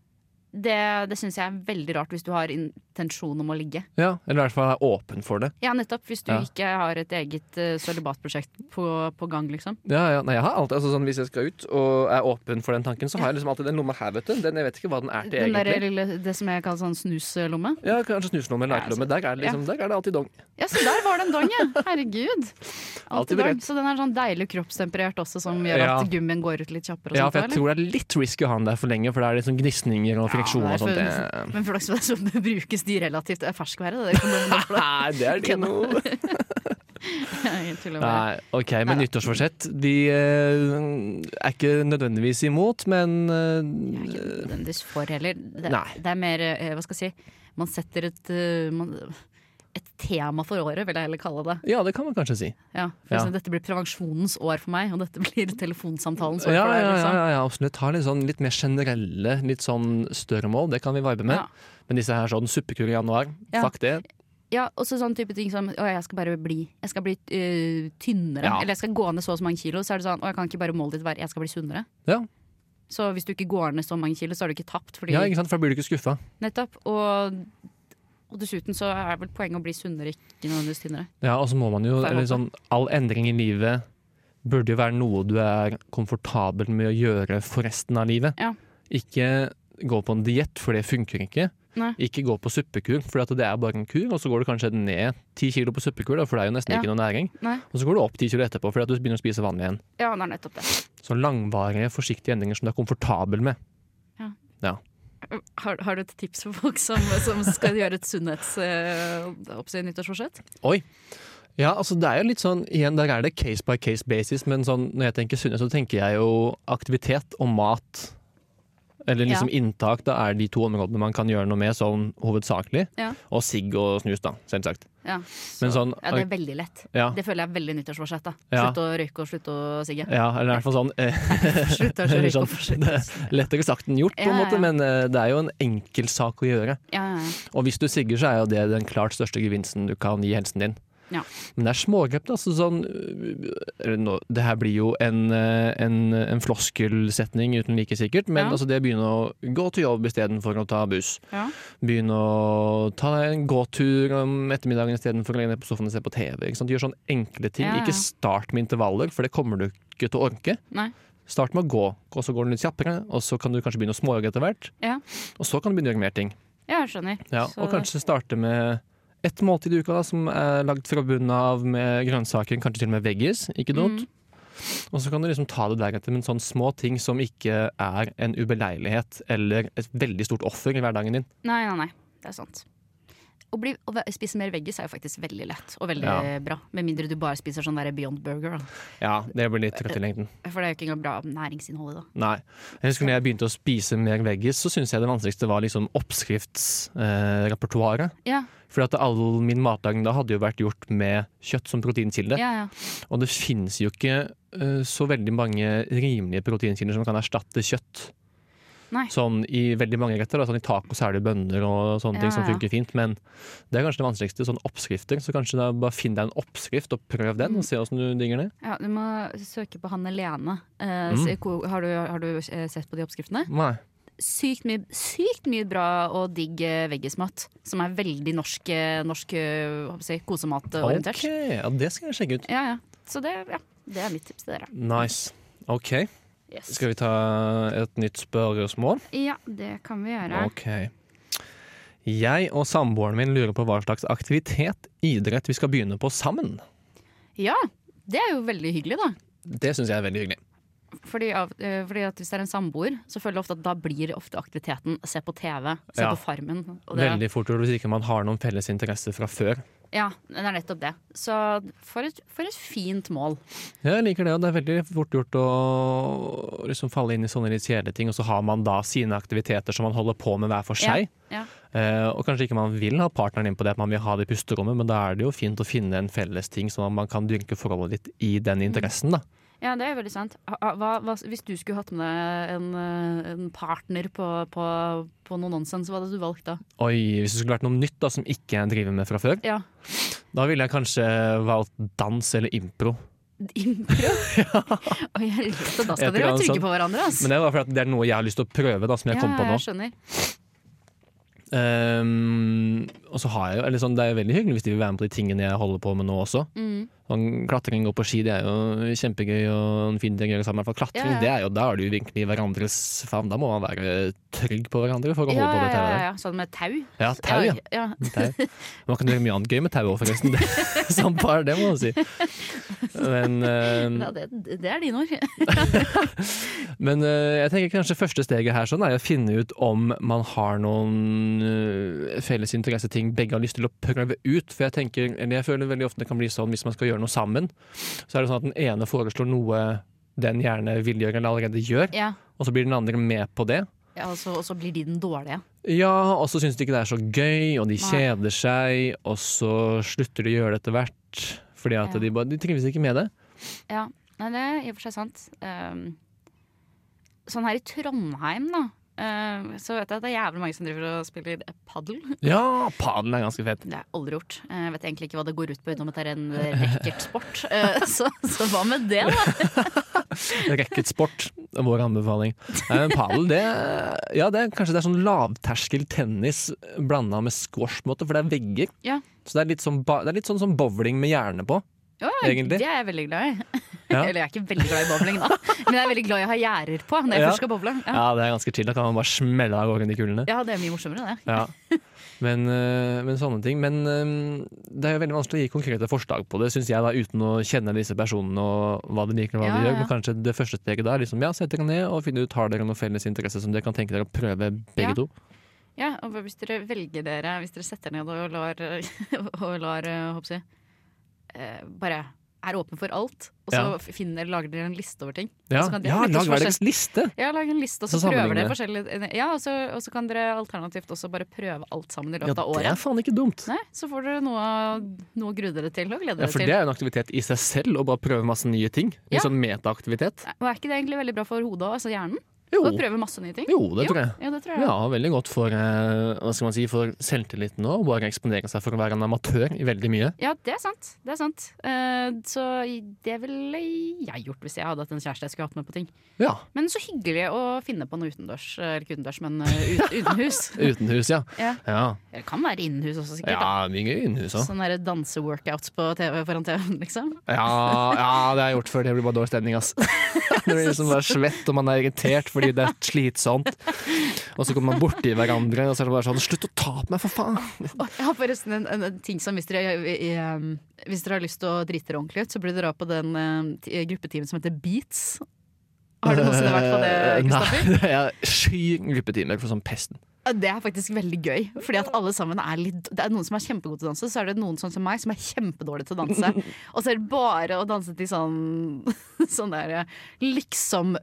Det, det syns jeg er veldig rart hvis du har intensjon om å ligge.
Ja, Eller i hvert fall er åpen for det.
Ja, nettopp. Hvis du
Ja.
ikke har et eget uh, sølibatprosjekt på, på gang, liksom.
Ja, ja, nei, jeg har alltid, altså, sånn, Hvis jeg skal ut og er åpen for den tanken, så har jeg liksom alltid den lomma her, vet du. Den, jeg vet ikke hva den er til
Den der
egentlig.
lille, det som jeg kaller sånn snuslomme.
Ja, Kanskje snuslomme eller
Ja, Sånn altså,
lakelomme. Der, er det liksom, der er det alltid dong.
Ja, så der var det en dong, ja! Herregud.
Alltid
Alltid dong.
beredt.
Så den er sånn deilig kroppstemperert også, som gjør
Ja.
at gummien går ut litt kjappere. Og
Ja,
sånt,
for jeg tror det er litt risky å ha den der for lenge, for det er liksom gnisninger og friksjon og sånt.
det. Men flaks for deg så brukes de relativt ferskvære. Det
Det- Nei, det er ikke
Kødda.
noe
Jeg tuller bare.
Nei, ok, men nyttårsforsett De eh, er ikke nødvendigvis imot, men eh,
Jeg er ikke nødvendigvis for heller. Det,
Nei.
det er mer eh, Hva skal jeg si? Man setter et eh, man, et tema for året, vil jeg heller kalle det.
Ja, det kan man kanskje si.
Ja, for
Ja.
eksempel, Dette blir prevensjonens år for meg, og dette blir telefonsamtalens
Ja,
år
ja,
for deg.
ja,
Liksom.
ja, ja absolutt. Ha litt, sånn, litt mer generelle, litt sånn større mål. Det kan vi vibe med.
Ja.
Men disse her sånn suppekur i januar,
Ja.
fuck det.
Ja, og så sånn type ting som Å, jeg skal bare bli Jeg skal bli eh, tynnere.
Ja.
Eller jeg skal gå ned så og så mange kilo. Så er det sånn Å, jeg kan ikke bare målet ditt være Jeg skal bli sunnere.
Ja,
Så hvis du ikke går ned så mange kilo, så har du ikke tapt. Fordi,
ja ikke sant? For da blir du ikke skuffa.
Nettopp. Og Og dessuten så er vel poenget å bli sunnere, ikke nødvendigvis tynnere.
Ja, og så må man jo
Får jeg
eller
håpe.
sånn, All endring i livet burde jo være noe du er komfortabel med å gjøre for resten av livet.
Ja.
Ikke gå på en diett, for det funker ikke.
Nei.
Ikke gå på suppekur, for at det er bare en kur, og så går du kanskje ned ti kilo på suppekur, da, for det er jo nesten
Ja.
ikke noe næring.
Nei.
Og så går du opp ti kilo etterpå fordi at du begynner å spise vanlig igjen.
Ja, det er nettopp det.
Så langvarige, forsiktige endringer som du er komfortabel med.
Har, har du et tips for folk som, som skal gjøre et eh, sunnhetsnyttårsforsett?
Oi! Ja, altså det er jo litt sånn, igjen der er det case by case basis, men sånn, når jeg tenker sunnhet, så tenker jeg jo aktivitet og mat. Eller liksom inntak, da er de to områdene man kan gjøre noe med sånn hovedsakelig.
Ja.
Og sigg og snus, da, selvsagt.
Ja.
Men sånn,
ja, det er veldig lett.
ja,
Det føler jeg er veldig nyttårsforsett. da.
Ja.
Slutt å røyke og slutt å sigge.
ja, eller i hvert fall sånn eh,
Slutt å røyke og
Sånn,
forsette.
Lettere sagt enn gjort, på en
Ja, ja,
måte,
ja.
men eh, det er jo en enkel sak å gjøre.
Ja, ja, ja.
Og hvis du sigger, så er jo det den klart største gevinsten du kan gi helsen din.
Ja.
Men det er smågrep. da, så sånn, øh, eller nå- det her blir jo en, øh, en, en floskelsetning uten like sikkert, men
Ja.
altså det å begynne å gå til jobb istedenfor å ta buss.
Ja.
Begynne å ta deg en gåtur om ettermiddagen istedenfor å legge deg på sofaen og se på TV. Ikke sant? Gjør sånne enkle ting.
Ja, ja.
Ikke start med intervaller, for det kommer du ikke til å orke.
Nei.
Start med å gå, og så går den litt kjappere, og så kan du kanskje begynne å småjogge etter hvert.
Ja.
Og så kan du begynne å gjøre mer ting.
ja, jeg skjønner.
Ja,
Så-
og kanskje starte med ett måltid i uka da, som er lagd fra bunnen av med grønnsaker, kanskje til og med veggies. Ikke dumt. Og så kan du liksom ta det deretter, men sånne små ting som ikke er en ubeleilighet eller et veldig stort offer i hverdagen din.
Nei, nei, nei. Det er sant. Å, bli, å ve- spise mer veggis er jo faktisk veldig lett og veldig
Ja.
bra. Med mindre du bare spiser sånn der Beyond Burger, da.
Ja, det blir litt trøtt i lengden.
For det er jo ikke engang bra næringsinnhold i det.
Nei. Jeg husker når jeg begynte å spise mer veggies, så syntes jeg det vanskeligste var liksom oppskriftsrepertoaret.
Ja,
For at all min matlaging da hadde jo vært gjort med kjøtt som proteinkilde.
ja, ja.
Og det finnes jo ikke eh, så veldig mange rimelige proteinkilder som kan erstatte kjøtt.
Nei.
Sånn i veldig mange retter. Da. Sånn I tacos er det bønner og sånne
Ja,
ting som
ja.
funker fint. Men det er kanskje det vanskeligste. Sånne oppskrifter. Så kanskje da bare finn deg en oppskrift og prøv den,
Mm.
og se åssen du digger det.
ja du må søke på Hanne Lene. Eh,
Mm.
se ko- har, du, har du eh, sett på de oppskriftene?
Nei.
Sykt mye, sykt mye bra og digg eh, veggismat. Som er veldig norsk, eh, norsk eh, hva skal jeg si, kosematorientert.
Ok, ja, det skal jeg sjekke ut.
Ja, ja. Så det, ja, det er mitt tips til dere.
Nice. OK,
Yes.
skal vi ta et nytt spørsmål?
Ja, det kan vi gjøre.
Ok. Jeg og samboeren min lurer på hva slags aktivitet, idrett, vi skal begynne på sammen.
Ja, det er jo veldig hyggelig, da.
Det syns jeg er veldig hyggelig.
Fordi, av, eh, fordi at Hvis det er en samboer, så føler jeg ofte at da blir ofte aktiviteten se på TV, se
Ja.
på Farmen. Og det,
Veldig fort gjort hvis ikke man har noen felles interesser fra før.
Ja, det er nettopp det. Så for et, for et fint mål.
Jeg liker det, og det er veldig fort gjort å liksom falle inn i sånne litt kjedelige ting, og så har man da sine aktiviteter som man holder på med hver for seg.
Ja,
Eh, og kanskje ikke man vil ha partneren inn på det, at man vil ha det i pusterommet, men da er det jo fint å finne en felles ting sånn at man kan dyrke forholdet ditt i den
Mm.
interessen, da.
ja det er veldig sant. Ha- ha- Hva, hva, hvis du skulle hatt med deg en, eh, en partner på, på, på noe nonsens, hva hadde du valgt da?
Oi, hvis det skulle vært noe nytt da, som ikke jeg driver med fra før,
Ja,
da ville jeg kanskje valgt dans eller impro.
Impro? Oi, helvete, da skal
Et
dere
eller
være
annet
trygge
sånt.
på hverandre. Ass.
Men det var fordi det er noe jeg har lyst til å prøve, da, som jeg
ja,
kom på nå.
jeg skjønner.
Ehm, og så har jeg jo, eller sånn, Det er jo veldig hyggelig hvis de vil være med på de tingene jeg holder på med nå også.
Mm.
Sånn, klatring og på ski det er jo kjempegøy og en fin ting å gjøre sammen. For klatring,
Ja, ja.
det er jo, da er du virkelig i hverandres favn. Da må man være trygg på hverandre for
Ja,
å holde på
ja,
med
ja,
tauet.
ja, sånn med tau.
Ja, tau, ja.
ja.
Tau. Man kan gjøre mye annet gøy med tauet òg, forresten. Det- Som par, det må man si. Men, ehm,
Ja, det, det er dine ord.
men eh, jeg tenker kanskje første steget her sånn er å finne ut om man har noen eh, felles interesseting begge har lyst til å prøve ut. For jeg tenker, eller jeg føler veldig ofte det kan bli sånn hvis man skal gjøre noe sammen, så er det sånn at den ene foreslår noe den gjerne vil gjøre eller allerede gjør,
Ja.
og så blir den andre med på det.
Ja, og så, og så blir de den dårlige.
Ja, og så syns de ikke det er så gøy, og de
Nei.
kjeder seg, og så slutter de å gjøre det etter hvert. Fordi at
Ja.
de, bare, de trives ikke med det.
Ja, Nei, det er i og for seg sant. Ehm, sånn her i Trondheim, da. ehm, så vet jeg at det er jævlig mange som driver og spiller padel.
Ja, padel er ganske fett.
Det har jeg aldri gjort. Jeg Eh, vet egentlig ikke hva det går ut på, utenom at det er en Eh, racketsport. Eh, så, så hva med det, da?
Racketsport. vår anbefaling. Eh, padel, det Ja, det er kanskje det er sånn lavterskel tennis blanda med squash, på en måte, for det er vegger.
Ja.
Så det er litt sånn, ba- det er litt sånn som bowling med hjerne på.
Ja,
Egentlig.
Det er jeg veldig glad i.
Ja.
Eller jeg er ikke veldig glad i bowling, da. Men jeg er veldig glad i å ha gjerder på når jeg
Ja.
først skal bowle. Ja.
Ja, det er ganske chill. Da kan man bare smelle av gårde de kulene.
ja, det er mye morsommere, det.
Ja. Men, eh, men sånne ting. Men eh, det er jo veldig vanskelig å gi konkrete forslag på det, syns jeg, da, uten å kjenne disse personene og hva de liker og hva
Ja,
de gjør.
ja.
Men kanskje det første steget da er liksom, ja, sett dere ned og finne ut har dere noen felles interesse som dere kan tenke dere å prøve begge
Ja.
to.
Ja, og hvis dere velger dere, hvis dere setter ned og lar, og lar eh, håper jeg, eh, bare er åpen for alt, og så
Ja.
finner, lager dere en liste over ting.
Ja,
Og så kan dere
ja
rett og
lag hver
slett-
deres liste!
Ja, lag en liste, og så,
Så
prøver dere
sammenligne.
forskjellige eh, Ja, og så, og så kan dere alternativt også bare prøve alt sammen i
Ja,
løpet av
det er
året.
faen ikke dumt.
Nei, så får dere noe, noe å grue dere til og glede
Ja,
dere
for
til.
det er jo en aktivitet i seg selv, å bare prøve masse nye ting. En
Ja.
sånn metaaktivitet.
Og er ikke det egentlig veldig bra for hodet og altså hjernen?
Jo.
Å prøve masse nye ting?
jo, det tror jeg.
Ja, det tror jeg.
Ja, veldig godt for, eh, hva skal man si, for selvtilliten òg. Bare eksponere seg for å være en amatør i veldig mye.
Ja, det er sant. Det er sant. Eh, så det ville jeg gjort hvis jeg hadde hatt en kjæreste jeg skulle hatt med på ting.
Ja,
Men så hyggelig å finne på noe utendørs. Eller ikke utendørs, men eh, ut, utenhus.
Utenhus, ja.
Ja.
ja.
Eller kan være innenhus også, sikkert.
Ja,
da.
mye gøy innhus òg.
Sånn derre danseworkouts på TV foran TV-en, liksom.
Ja, ja, det har jeg gjort før. Det blir bare dårlig stemning, ass. Det blir liksom bare svett, og man er irritert fordi det er slitsomt. Og så kommer man borti hverandre, og så er det bare sånn Slutt å ta på meg, for faen!
Å, Jeg har forresten en, en, en ting som hvis dere, i- i- hvis dere har lyst til å drite dere ordentlig ut, så burde dere dra på den eh, t- gruppetimen som heter Beats. Har du noensinne vært på det, Kristoffer?
Eh, Nei, jeg skyr gruppetimer for sånn pesten.
Ja, Det er faktisk veldig gøy. Fordi at alle sammen er litt Det er noen som er kjempegode til å danse, så er det noen sånn som meg som er kjempedårlig til å danse. Og så er det bare å danse til sånn Sånn der eh, liksom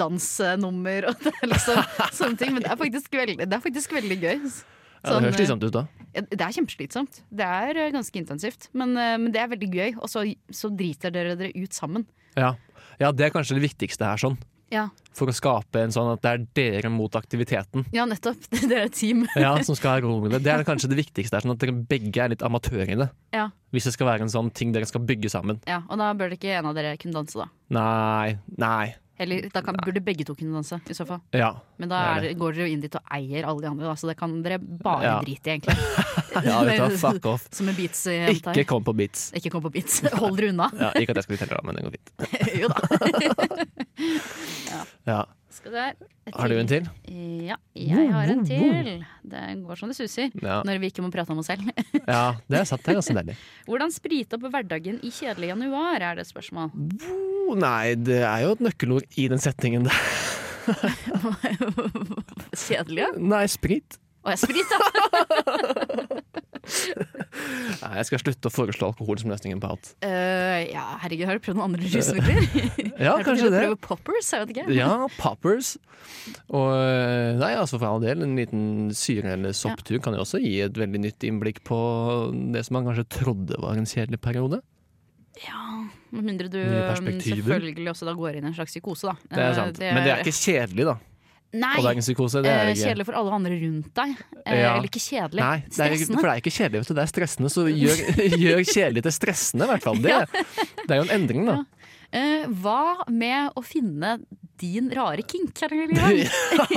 Bollywood-dansenummer og det er liksom sånne ting. Men det er faktisk veldig, det er faktisk veldig gøy.
Ja, det
Sånn,
høres
eh,
slitsomt ut, da.
ja, Det er kjempeslitsomt. Det er eh, ganske intensivt. Men, eh, men det er veldig gøy. Og så, så driter dere dere ut sammen.
Ja. ja, det er kanskje det viktigste her, sånn.
Ja,
For å skape en sånn at det er dere mot aktiviteten.
ja nettopp. Dere er et team.
Ja, som skal ro med det. Det er kanskje det viktigste her, sånn at dere begge er litt amatører i det.
Ja,
Hvis det skal være en sånn ting dere skal bygge sammen.
ja. Og da bør det ikke en av dere kunne danse, da.
Nei, nei.
Eller da kan, burde begge to kunne danse, i så fall.
Ja.
Men da
Det er
er, det- går dere jo inn dit og eier alle de andre, da, så det kan dere bare
Ja.
drite i, egentlig.
ja vet du, hva, fuck off.
Som en beats jenta
Ikke
her.
kom på beats.
Ikke kom på beats. Hold dere unna.
Ja, ikke at jeg skal fortelle det, men det går fint.
jo da.
Ja.
Skal der.
Har du en til?
Ja, jeg har en til. Det går som det suser.
Ja.
Når vi ikke må prate om oss selv.
ja det er satt her ganske deilig.
Hvordan sprite opp hverdagen i kjedelig januar, er det et spørsmål.
Oh, nei, det er jo et nøkkelord i den settingen der.
Kjedelig, ja?
Nei, sprit.
Å, jeg sprit, ja.
Nei, jeg skal slutte å foreslå alkohol som løsningen på alt.
Eh, ja, herregud, har du prøvd noen andre rusmidler?
Ja,
Har du prøvd
kanskje
å
det.
Prøve poppers, jeg vet ikke.
Ja, poppers. Og eh, nei, altså for all del, en liten syre- eller sopptur kan jo også gi et veldig nytt innblikk på det som man kanskje trodde var en kjedelig periode.
Ja, med mindre du
Nye
um,
perspektiver.
selvfølgelig også da går inn i en slags psykose, da.
Det er sant. Men det er ikke kjedelig, da.
Eh, Nei!
Og det er ikke en psykose. Det
eh,
er det ikke.
Kjedelig for alle andre rundt deg. Eh,
Ja.
Eller ikke kjedelig.
Nei, det er, ikke-
Stressende.
for det er ikke kjedelig, vet du. Det er stressende, så gjør, gjør kjedelig til stressende, i hvert fall. Det, det er jo en endring, da.
Eh, hva med å finne din rare kink? Karoline?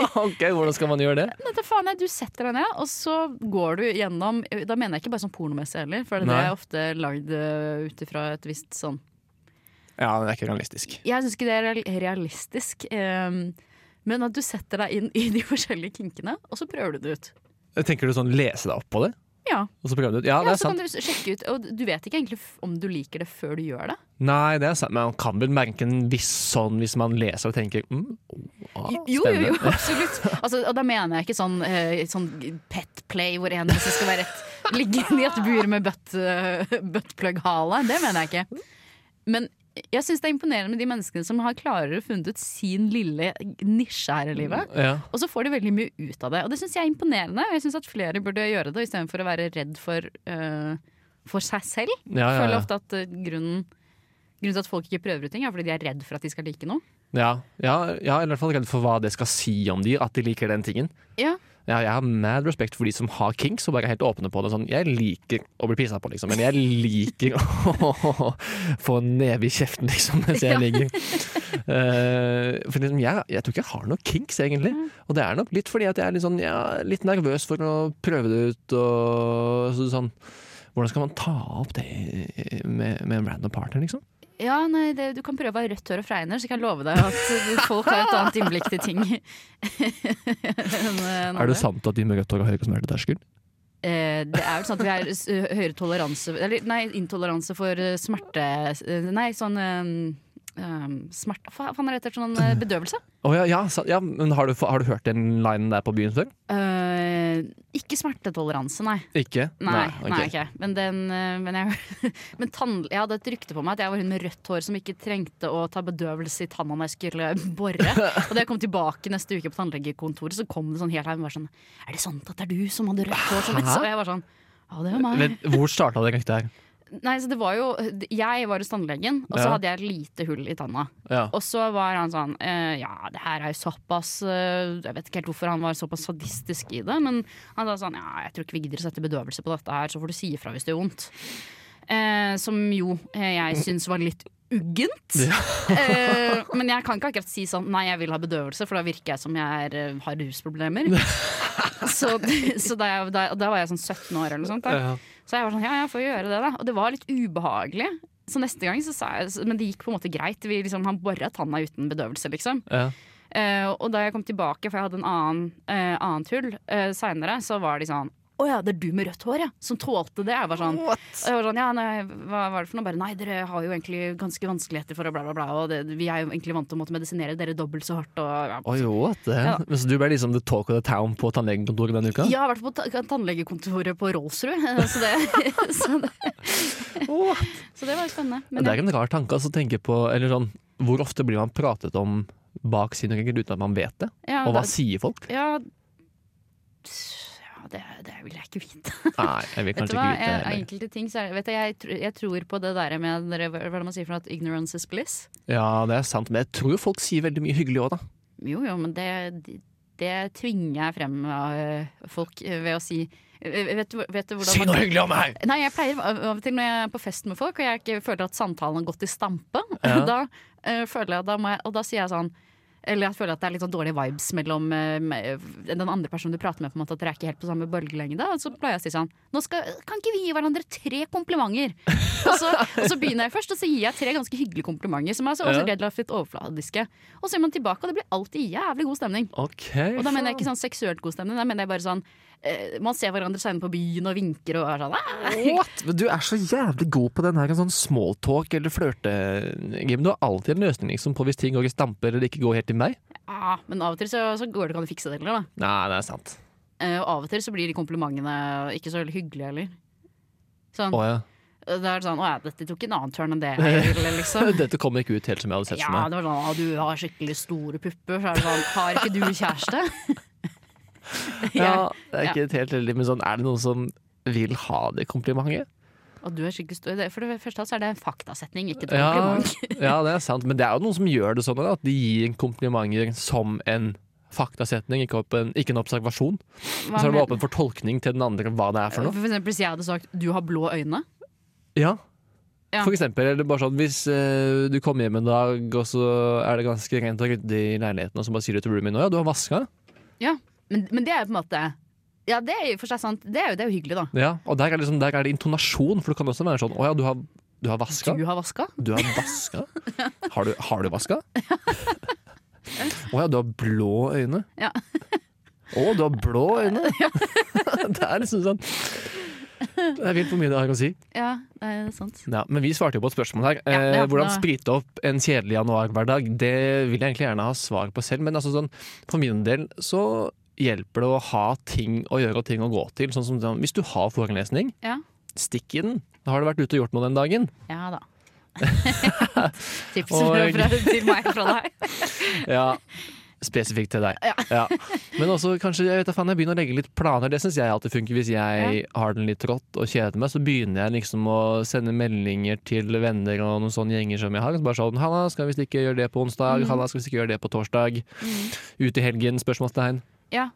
ok, hvordan skal man gjøre det?
Dette faen jeg, Du setter deg ned, og så går du gjennom Da mener jeg ikke bare sånn pornomessig heller, for det
Nei.
er ofte lagd eh, ut ifra et visst sånn
Ja, det er ikke realistisk.
Jeg syns ikke det er real- realistisk. eh, men at du setter deg inn i de forskjellige kinkene, og så prøver du det ut.
Tenker du sånn lese deg opp på det?
Ja
Og så prøver du ut? Ja,
Ja,
det er
så kan du
sant.
s- sjekke ut Og du vet ikke egentlig f- om du liker det før du gjør det.
Nei, det er sant. Men man kan vel merke en viss sånn hvis man leser og tenker mm, å, ah,
Jo, jo, jo,
spennende.
absolutt. Altså, og da mener jeg ikke sånn, eh, sånn pet play hvor en som skal være rett liggende i et bur med butt, eh, buttplug-hale. Det mener jeg ikke. Men jeg syns det er imponerende med de menneskene som har klarere funnet ut sin lille nisje her i livet.
Ja.
Og så får de veldig mye ut av det. Og det syns jeg er imponerende. Og jeg syns at flere burde gjøre det istedenfor å være redd for, eh, for seg selv.
Ja,
Jeg
ja,
føler
ja.
ofte at eh, grunnen Grunnen til at folk ikke prøver ut ting, er fordi de er redd for at de skal like noe.
Ja, ja, ja, eller i hvert fall redd for hva det skal si om de, at de liker den tingen.
Ja,
Ja, jeg har mad respekt for de som har kinks og bare er helt åpne på det. Sånn, jeg liker å bli pissa på, liksom, men jeg liker å få en neve i kjeften, liksom, mens jeg
Ja.
ligger. Eh, for liksom, jeg, jeg tror ikke jeg har noen kinks, egentlig.
Mm.
Og det er nok litt fordi at jeg er litt, sånn, jeg er litt nervøs for å prøve det ut. Og så, sånn Hvordan skal man ta opp det med, med en random partner, liksom?
Ja, nei, det, Du kan prøve å ha rødt hår og fregner, så jeg kan love deg at eh, folk har et annet innblikk til ting. enn, eh, enn
Er
andre.
det sant at de med rødt hår har høyere smerteterskel?
Eh, det er vel sånn at vi har s- høyere toleranse Eller nei, intoleranse for eh, smerte eh, Nei, sånn eh, um, smerte Hva faen er det heter? Sånn eh, bedøvelse?
Å ja, ja, sa- ja, men har du, fa- har du hørt den linen der på byen før?
Eh, ikke smertetoleranse, nei.
Ikke?
Nei,
ok.
nei, ok. Men, den, eh, men, jeg, men tann, jeg hadde et rykte på meg at jeg var hun med rødt hår som ikke trengte å ta bedøvelse i tanna når jeg skulle bore. Og da jeg kom tilbake neste uke på tannlegekontoret, så kom det sånn helt her og var sånn Er det sant at det er du som hadde rødt hår som et
Hæ?
Og jeg var sånn Ja, det var meg.
Men hvor starta det ryktet her?
Nei, så det var jo Jeg var hos tannlegen, og så
Ja.
hadde jeg et lite hull i tanna.
Ja.
Og så var han sånn eh, Ja, det her er jo såpass eh, Jeg vet ikke helt hvorfor han var såpass sadistisk i det, men han sa sånn Ja, jeg tror ikke vi gidder å sette bedøvelse på dette her, så får du si ifra hvis det gjør vondt. Eh, som jo eh, jeg syns var litt uggent. eh, men jeg kan ikke akkurat si sånn nei, jeg vil ha bedøvelse, for da virker jeg som jeg er, eh, har rusproblemer. så så da, jeg, da, da var jeg sånn 17 år eller noe sånt. Da.
Ja.
Så jeg var sånn, ja, jeg får gjøre det da Og det var litt ubehagelig Så neste gang, så sa jeg, men det gikk på en måte greit Vi liksom, Han borret tanna uten bedøvelse liksom
Ja.
Eh, Og da jeg kom tilbake, for jeg hadde en annen eh, Annet hull eh, senere Så var de sånn, åja, det er du med rødt hår ja Som tålte det, jeg var sånn Og jeg var sånn, ja, nei, hva var det for noe? Bare, nei, dere har jo egentlig ganske vanskeligheter for å bla bla bla Og det, vi er jo egentlig vant til å måtte medisinere dere dobbelt så hardt og, ja.
Oi, what? the hell?
Ja.
Men Så du ble liksom the talk of the town på tannlegekontoret denne uka?
Ja, i hvert fall på ta- tannlegekontoret på Rolsrud eh, Så det, så det,
Åh.
så det var jo spennende
Men
Men
det er en rar tanke altså, å tenke på eller sånn, Hvor ofte blir man pratet om bak sine rygger uten at man vet det?
ja,
Og hva
da-
sier folk?
Ja, ja det, det vil jeg ikke vite.
Nei, jeg vil
Vet du
kanskje
hva,
ikke vite det
jeg,
heller.
enkelte ting så er, vet du, jeg, tr- jeg tror på det der med dere- Hva er det man sier for noe? At ignorance is bliss?
Ja, det er sant, men jeg tror folk sier veldig mye hyggelig òg, da.
Jo jo, men det, det tvinger jeg frem av eh, folk eh, ved å si eh, Vet du, vet du hvordan
Si noe hyggelig om meg!
Nei, jeg pleier av av og til når jeg er på fest med folk og jeg ikke føler at samtalen har gått i stampe,
Ja.
da, eh, føler jeg, da må jeg, og da sier jeg sånn eller jeg føler at det er litt sånn dårlige vibes mellom eh, me- den andre personen du prater med. på en måte At dere er ikke helt på samme bølgelengde. Og så pleier jeg å si sånn Nå skal, Kan ikke vi gi hverandre tre komplimenter? og, så, og så begynner jeg først, og så gir jeg tre ganske hyggelige komplimenter. Som er så, også
Ja.
relativt overfladiske. Og så er man tilbake, og det blir alltid jævlig god stemning.
Ok.
Og da mener jeg ikke sånn seksuelt god stemning, da mener jeg bare sånn eh, Man ser hverandre senere på byen og vinker og er sånn «Ah!»
What? Men du er så jævlig god på den her sånn smalltalk eller flørtegame. Du har alltid en løsning liksom, på hvis ting går i stampe eller det ikke går helt til meg.
Ja, Ah, men av og til så, så går det ikke an å fikse det heller, da.
Nei, det er sant.
Eh, Og av og til så blir de komplimentene ikke så veldig hyggelige heller. Sånn,
Å ja.
Da er det sånn Å ja, dette tok en annen turn enn det jeg ville, liksom.
Dette kom ikke ut helt som jeg hadde sett
Ja,
for meg.
det var sånn Å, du har skikkelig store pupper, så er det sånn Har ikke du kjæreste?
Ja, det
Ja.
er ikke helt heldig, men sånn, er det noen som vil ha det komplimentet?
Og du er skikkelig stor det- For det første så er det en faktasetning, ikke et
Ja,
kompliment.
ja, det er sant, men det er jo noen som gjør det sånn at de gir en komplimenter som en faktasetning, ikke, opp en, ikke en observasjon.
Hva
Så er det
mener-
åpen for tolkning til den andre hva det er for noe.
for eksempel hvis jeg hadde sagt 'du har blå øyne',
Ja.
Ja.
For eksempel, eller bare sånn, hvis eh, du kommer hjem en dag, og så er det ganske rent og ryddig i leiligheten, og så bare sier du til roomien nå, ja, du har vaska.
ja. Men, men det er jo på en måte Ja, det er jo for seg sant. Det er jo, det er jo hyggelig, da.
Ja, og der er, liksom, der er det intonasjon, for det kan også være sånn, å ja, du har, du har vaska.
Du har vaska?
Du har vaska? Har du, har du vaska? Å ja, du har blå øyne.
Ja.
Å, du har blå øyne! Det er liksom sånn Det er vilt hvor mye det har å si.
Ja, det er sant.
Ja, men vi svarte jo på et spørsmål her.
Ja, ja,
eh, hvordan
da-
sprite opp en kjedelig januarhverdag? Det vil jeg egentlig gjerne ha svar på selv, men altså sånn, for min del så hjelper det å ha ting å gjøre og ting å gå til. Sånn som sånn, Hvis du har forelesning,
Ja.
stikk i den. Da har du vært ute og gjort noe den dagen.
Ja da. Tips
Og-
fra, til meg fra deg.
Ja, spesifikt til deg. Ja. Men også kanskje jeg vet da faen, jeg begynner å legge litt planer. Det syns jeg alltid funker. Hvis jeg har den litt trått og kjeder meg, så begynner jeg liksom å sende meldinger til venner og noen sånne gjenger som jeg har. Så bare sånn 'Hanna, skal vi ikke gjøre det på onsdag?' 'Hanna, skal vi ikke gjøre det på torsdag?' Ut i helgen? Spørsmålstegn.
Ja,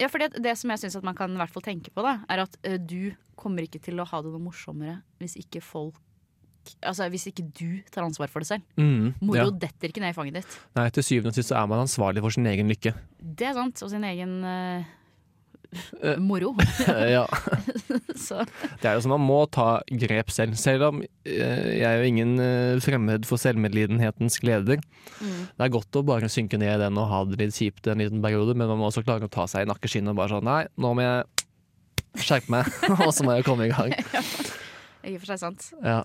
ja for det, det som jeg syns man kan i hvert fall tenke på, da, er at eh, du kommer ikke til å ha det noe morsommere hvis ikke folk folk altså, Hvis ikke du tar ansvar for det selv.
Mm,
Moro
ja.
detter ikke ned i fanget ditt.
Nei, til syvende og sist så er man ansvarlig for sin egen lykke.
Det er sant. Og sin egen eh,
Eh.
moro.
ja.
Så
Det er jo sånn man må ta grep selv. Selv om eh, jeg er jo ingen eh, fremmed for selvmedlidenhetens gleder.
Mm.
Det er godt å bare synke ned i den og ha det litt kjipt en liten periode, men man må også klare å ta seg i nakkeskinnet og bare sånn Nei, nå må jeg skjerpe meg, og så må jeg komme i gang.
i og for seg sant.
Ja.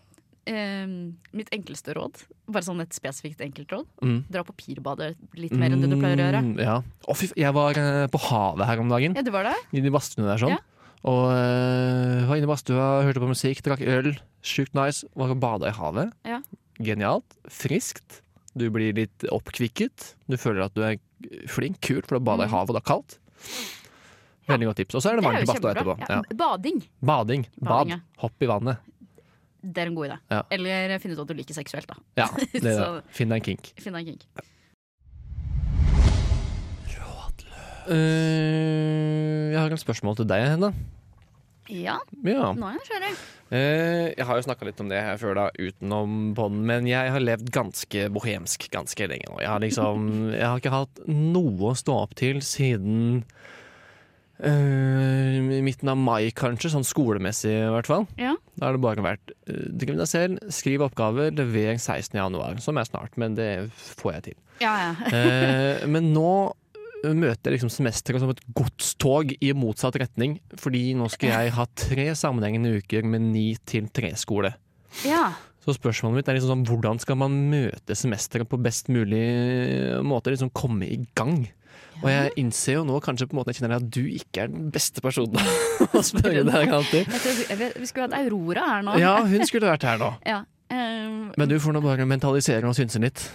Eh, mitt enkleste råd, bare sånn et spesifikt enkelt råd,
Mm.
dra på pirbadet litt mer enn det du pleier å gjøre.
Mm, ja. Å, fy, f- jeg var eh, på havet her om dagen,
Ja, du var det?
inne i badstuen der sånn.
Ja.
Og eh, var inne i badstua, hørte på musikk, drakk øl. Sjukt nice. Var og bada i havet.
Ja.
Genialt. Friskt. Du blir litt oppkvikket. Du føler at du er flink, kult, for du har bada i havet og det er kaldt. Veldig godt tips. Og så er det
Mm. Det er
varmt
jo
i badstua
kjempebra.
etterpå. Ja.
Ja. Bading,
Bading.
Bading,
Bad.
ja.
Hopp i vannet.
det er en god idé.
Ja.
Eller finne ut hva du liker seksuelt, da.
Ja, det er det.
Så-
Finn deg en kink.
Finn deg en kink.
Eh, jeg har et spørsmål til deg, Henne.
Ja,
Ja.
nå er jeg nysgjerrig.
Eh, jeg har jo snakka litt om det her før, da, utenom podden, men jeg har levd ganske bohemsk ganske lenge nå. Jeg har liksom Jeg har ikke hatt noe å stå opp til siden eh, midten av mai, kanskje. Sånn skolemessig, i hvert fall.
Ja.
Da har det bare vært eh, Driv med deg selv, skriv oppgaver, lever 16. januar, som er snart, men det får jeg til.
Ja, ja.
Eh, men nå møter jeg liksom semesteret som et godstog i motsatt retning. Fordi nå skal jeg ha tre sammenhengende uker med ni til tre-skole.
ja.
Så spørsmålet mitt er liksom sånn, hvordan skal man møte semesteret på best mulig måte? Liksom komme i gang. Og jeg innser jo nå kanskje på en måte jeg kjenner at du ikke er den beste personen å spørre det her alltid.
Jeg tror vi, jeg vet- vi skulle hatt Aurora her nå.
Ja, hun skulle vært her nå.
Ja. Ehm,
Men du får nå bare mentalisere og synse litt.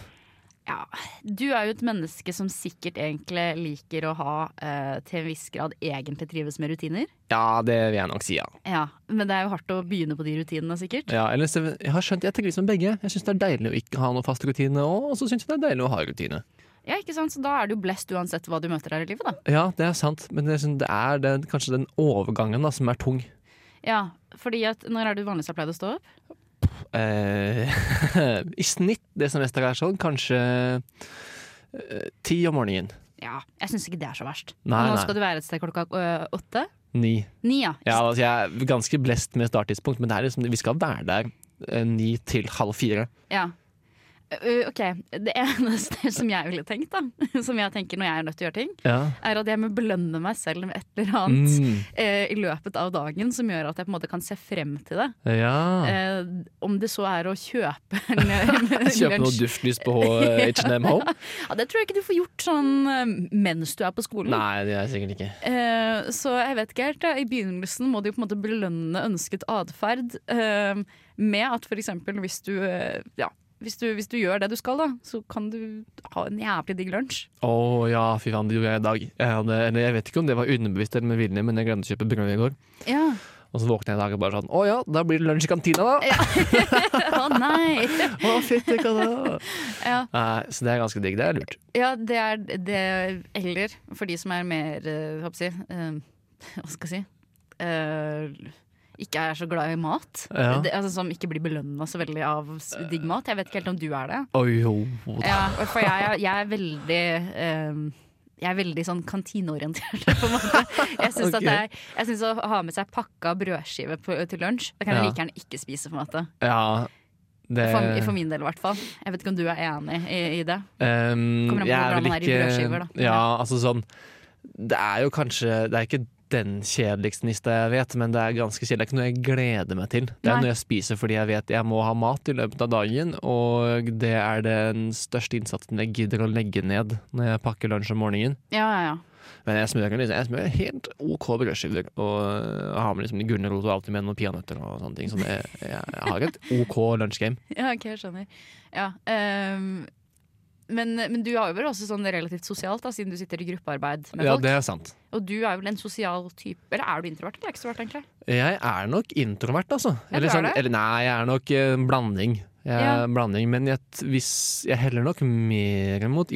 ja. Du er jo et menneske som sikkert egentlig liker å ha eh, til en viss grad egentlig trives med rutiner.
Ja, det vil jeg nok si, ja.
Ja, Men det er jo hardt å begynne på de rutinene, sikkert.
Ja, eller så- jeg har skjønt, jeg trives med begge. Jeg syns det er deilig å ikke ha noe fast rutine, og og så syns jeg det er deilig å ha rutine.
Ja, ikke sant? Så da er du blest uansett hva du møter her i livet, da.
Ja, det er sant, men det er, sånn- det er den, kanskje den overgangen da, som er tung.
Ja, fordi at når er det du vanligvis har pleid å stå opp?
Eh, I snitt det semesteret er sånn, kanskje eh, ti om morgenen.
Ja, jeg syns ikke det er så verst.
Nei,
nå
nei.
skal du være et sted klokka øh, åtte?
Ni.
Ni, ja.
Ja, altså, jeg er ganske blest med starttidspunkt, men det er liksom, vi skal være der eh, ni til halv fire.
Ja. Uh, ok, Det eneste som jeg ville tenkt, da som jeg tenker når jeg er nødt til å gjøre ting,
Ja.
er at jeg må belønne meg selv med et eller annet
Mm,
eh, i løpet av dagen som gjør at jeg på en måte kan se frem til det.
ja.
Eh, om det så er å kjøpe en en
Kjøpe noe
lunsj.
duftlys på eh, H&M Home?
Ja, det tror jeg ikke du får gjort sånn eh, mens du er på skolen.
Nei, det er jeg sikkert ikke.
Eh, så jeg vet ikke helt. ja. I begynnelsen må du jo på en måte belønne ønsket atferd eh, med at f.eks. hvis du eh, ja, hvis du, hvis du gjør det du skal, da, så kan du ha en jævlig digg lunsj.
Å ja, fy faen, det gjorde jeg i dag. Jeg, hadde, eller jeg vet ikke om det var underbevisst eller med vilje, men jeg glemte å kjøpe brød i går.
Ja.
Og så våkna jeg i dag og bare sånn Å ja, da blir det lunsj i kantina, da!
Å nei!
Å, fytti katta!
Ja.
Nei, Så det er ganske digg. Det er lurt.
Ja, det er det Eller for de som er mer eh, Hva skal jeg si eh, Hva skal jeg si eh, Ikke er så glad i mat.
Ja.
Det, altså, som ikke blir belønna så veldig av s- digg mat. Jeg vet ikke helt om du er det.
Å jo da.
Ja, for jeg, er- jeg er veldig ehm, jeg er veldig sånn kantineorientert. på en måte. Jeg syns
Ok.
okay. å ha med seg pakka brødskive på, til lunsj, det kan jeg
Ja.
like gjerne ikke spise. på en måte.
Ja, det
For, for min del, i hvert fall. Jeg vet ikke om du er enig i, i det?
ehm,
Kommer an på
jeg er
hvordan
vel
man er i
ikke
brødskiver, da.
Ja, altså sånn Det er jo kanskje Det er ikke den kjedeligste nista jeg vet, men det er ganske kjedelig. Det er ikke noe jeg gleder meg til. Det er
Nei.
noe jeg spiser fordi jeg vet jeg må ha mat i løpet av dagen, og det er den største innsatsen jeg gidder å legge ned når jeg pakker lunsj om morgenen.
Ja, ja, ja.
Men jeg smører, liksom, jeg smører helt OK brødskiver, og øh, har med liksom gulrot og alltid med noen peanøtter og sånne ting. Så det, jeg, jeg har et OK lunsjgame.
Ja, ok, jeg skjønner. Ja, ehm, men, men du har jo vel også sånn relativt sosialt, da, siden du sitter i gruppearbeid med
Ja,
folk.
det er sant.
Og du er vel en sosial type Eller er du introvert eller ekstrovert, egentlig?
Jeg er nok introvert, altså.
Ja,
Eller,
du er
sånn,
det?
eller nei, jeg er nok eh, en blanding. Jeg er
Ja.
en blanding, men jeg, t- hvis, jeg heller nok mer mot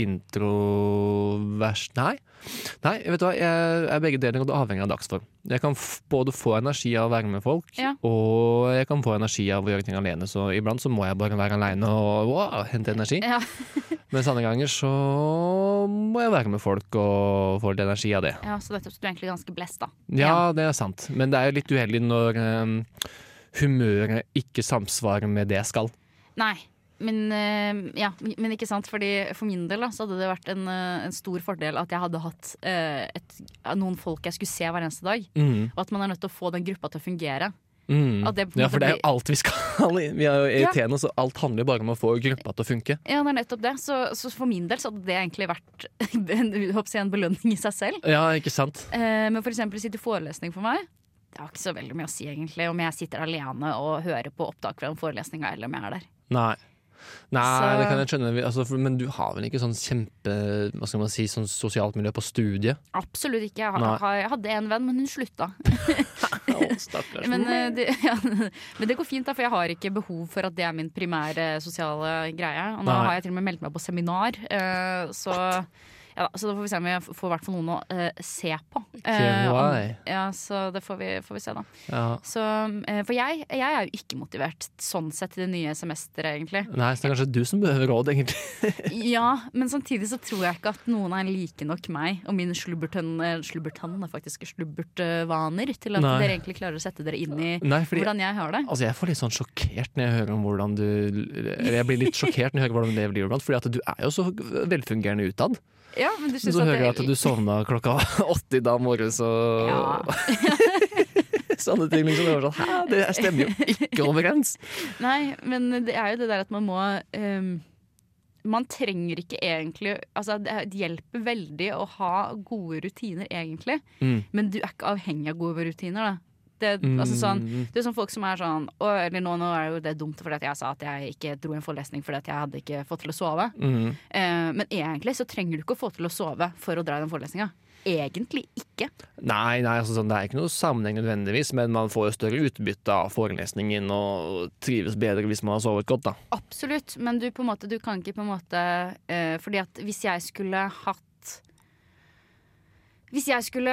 introvers Nei. Nei, vet du hva? Jeg er begge deler, og det avhenger av dagsform. Jeg kan f både få energi av å være med folk,
Ja.
og jeg kan få energi av å gjøre ting alene. Så iblant så må jeg bare være aleine og wow, hente energi.
Ja.
Mens andre ganger så må jeg være med folk og få litt energi av det.
Ja, så dette er du egentlig ganske blest, da.
Ja, det er sant. Men det er jo litt uheldig når eh, humøret ikke samsvarer med det jeg skal.
Nei. Men, eh, ja, men ikke sant, fordi for min del da, så hadde det vært en, eh, en stor fordel at jeg hadde hatt eh, et, noen folk jeg skulle se hver eneste dag.
Mm.
Og at man er nødt til å få den gruppa til å fungere.
Mm.
At det på en
ja,
måte
for det er jo
blir-
alt vi skal. i. Vi er jo irriterende, så alt handler jo bare om å få gruppa til å funke.
Ja, det er nettopp det. Så, så for min del så hadde det egentlig vært en, håper jeg, en belønning i seg selv.
Ja, ikke sant?
Eh, men for eksempel å sitte i forelesning for meg, det har ikke så veldig mye å si egentlig om jeg sitter alene og hører på opptak fra en forelesning eller om jeg er der.
Nei. Nei,
Så-
det kan jeg skjønne. Vi- Altså, for, men du har vel ikke sånn kjempe Hva skal man si, sånn sosialt miljø på studiet?
Absolutt ikke. Jeg,
Nei.
har- har, jeg hadde en venn, men hun slutta. Men, eh, det, ja, men det går fint, da, for jeg har ikke behov for at det er min primære eh, sosiale greie. Og nå
Nei.
har jeg til og med meldt meg på seminar, eh, så, ja, da, så da får vi se om jeg f- får i hvert fall noen å eh, se på. Eh, om,
KY.
ja, så det får vi, får vi se, da.
Ja.
Så, eh, for jeg, jeg er jo ikke motivert sånn sett til det nye semesteret, egentlig.
Nei, så det er kanskje du som behøver råd, egentlig.
Ja, men samtidig så tror jeg ikke at noen er like nok meg og mine slubbertønn- eh, slubbertann, det er faktisk slubbertvaner, til at
Nei.
dere egentlig klarer å sette dere inn i
Nei, fordi
hvordan jeg har det.
Altså, Jeg får litt sånn sjokkert når jeg hører om hvordan du Eller jeg blir litt sjokkert når jeg hører hvordan det blir iblant, fordi at du er jo så velfungerende utad.
Ja, men du
Så
synes at
hører
det
jeg at du sovna klokka åtte i dag morges og
Ja.
sånne ting. liksom. Jeg var sånn, Hæ, det stemmer jo ikke overens!
Nei, men det er jo det der at man må ehm, Man trenger ikke egentlig Altså, det er- det hjelper veldig å ha gode rutiner, egentlig.
Mm.
Men du er ikke avhengig av gode rutiner, da. Det, altså sånn,
Mm.
det er sånn folk som er sånn «Å, eller nå, nå er jo det dumt fordi at jeg sa at jeg ikke dro en forelesning fordi at jeg hadde ikke fått til å sove.
Mm.
Eh, men egentlig så trenger du ikke å få til å sove for å dra i den forelesninga. Egentlig ikke.
Nei, nei altså sånn, det er ikke noe sammenheng nødvendigvis, men man får jo større utbytte av forelesningen og trives bedre hvis man har sovet godt, da.
Absolutt, men du, på en måte, du kan ikke på en måte eh, Fordi at hvis jeg skulle hatt Hvis jeg skulle,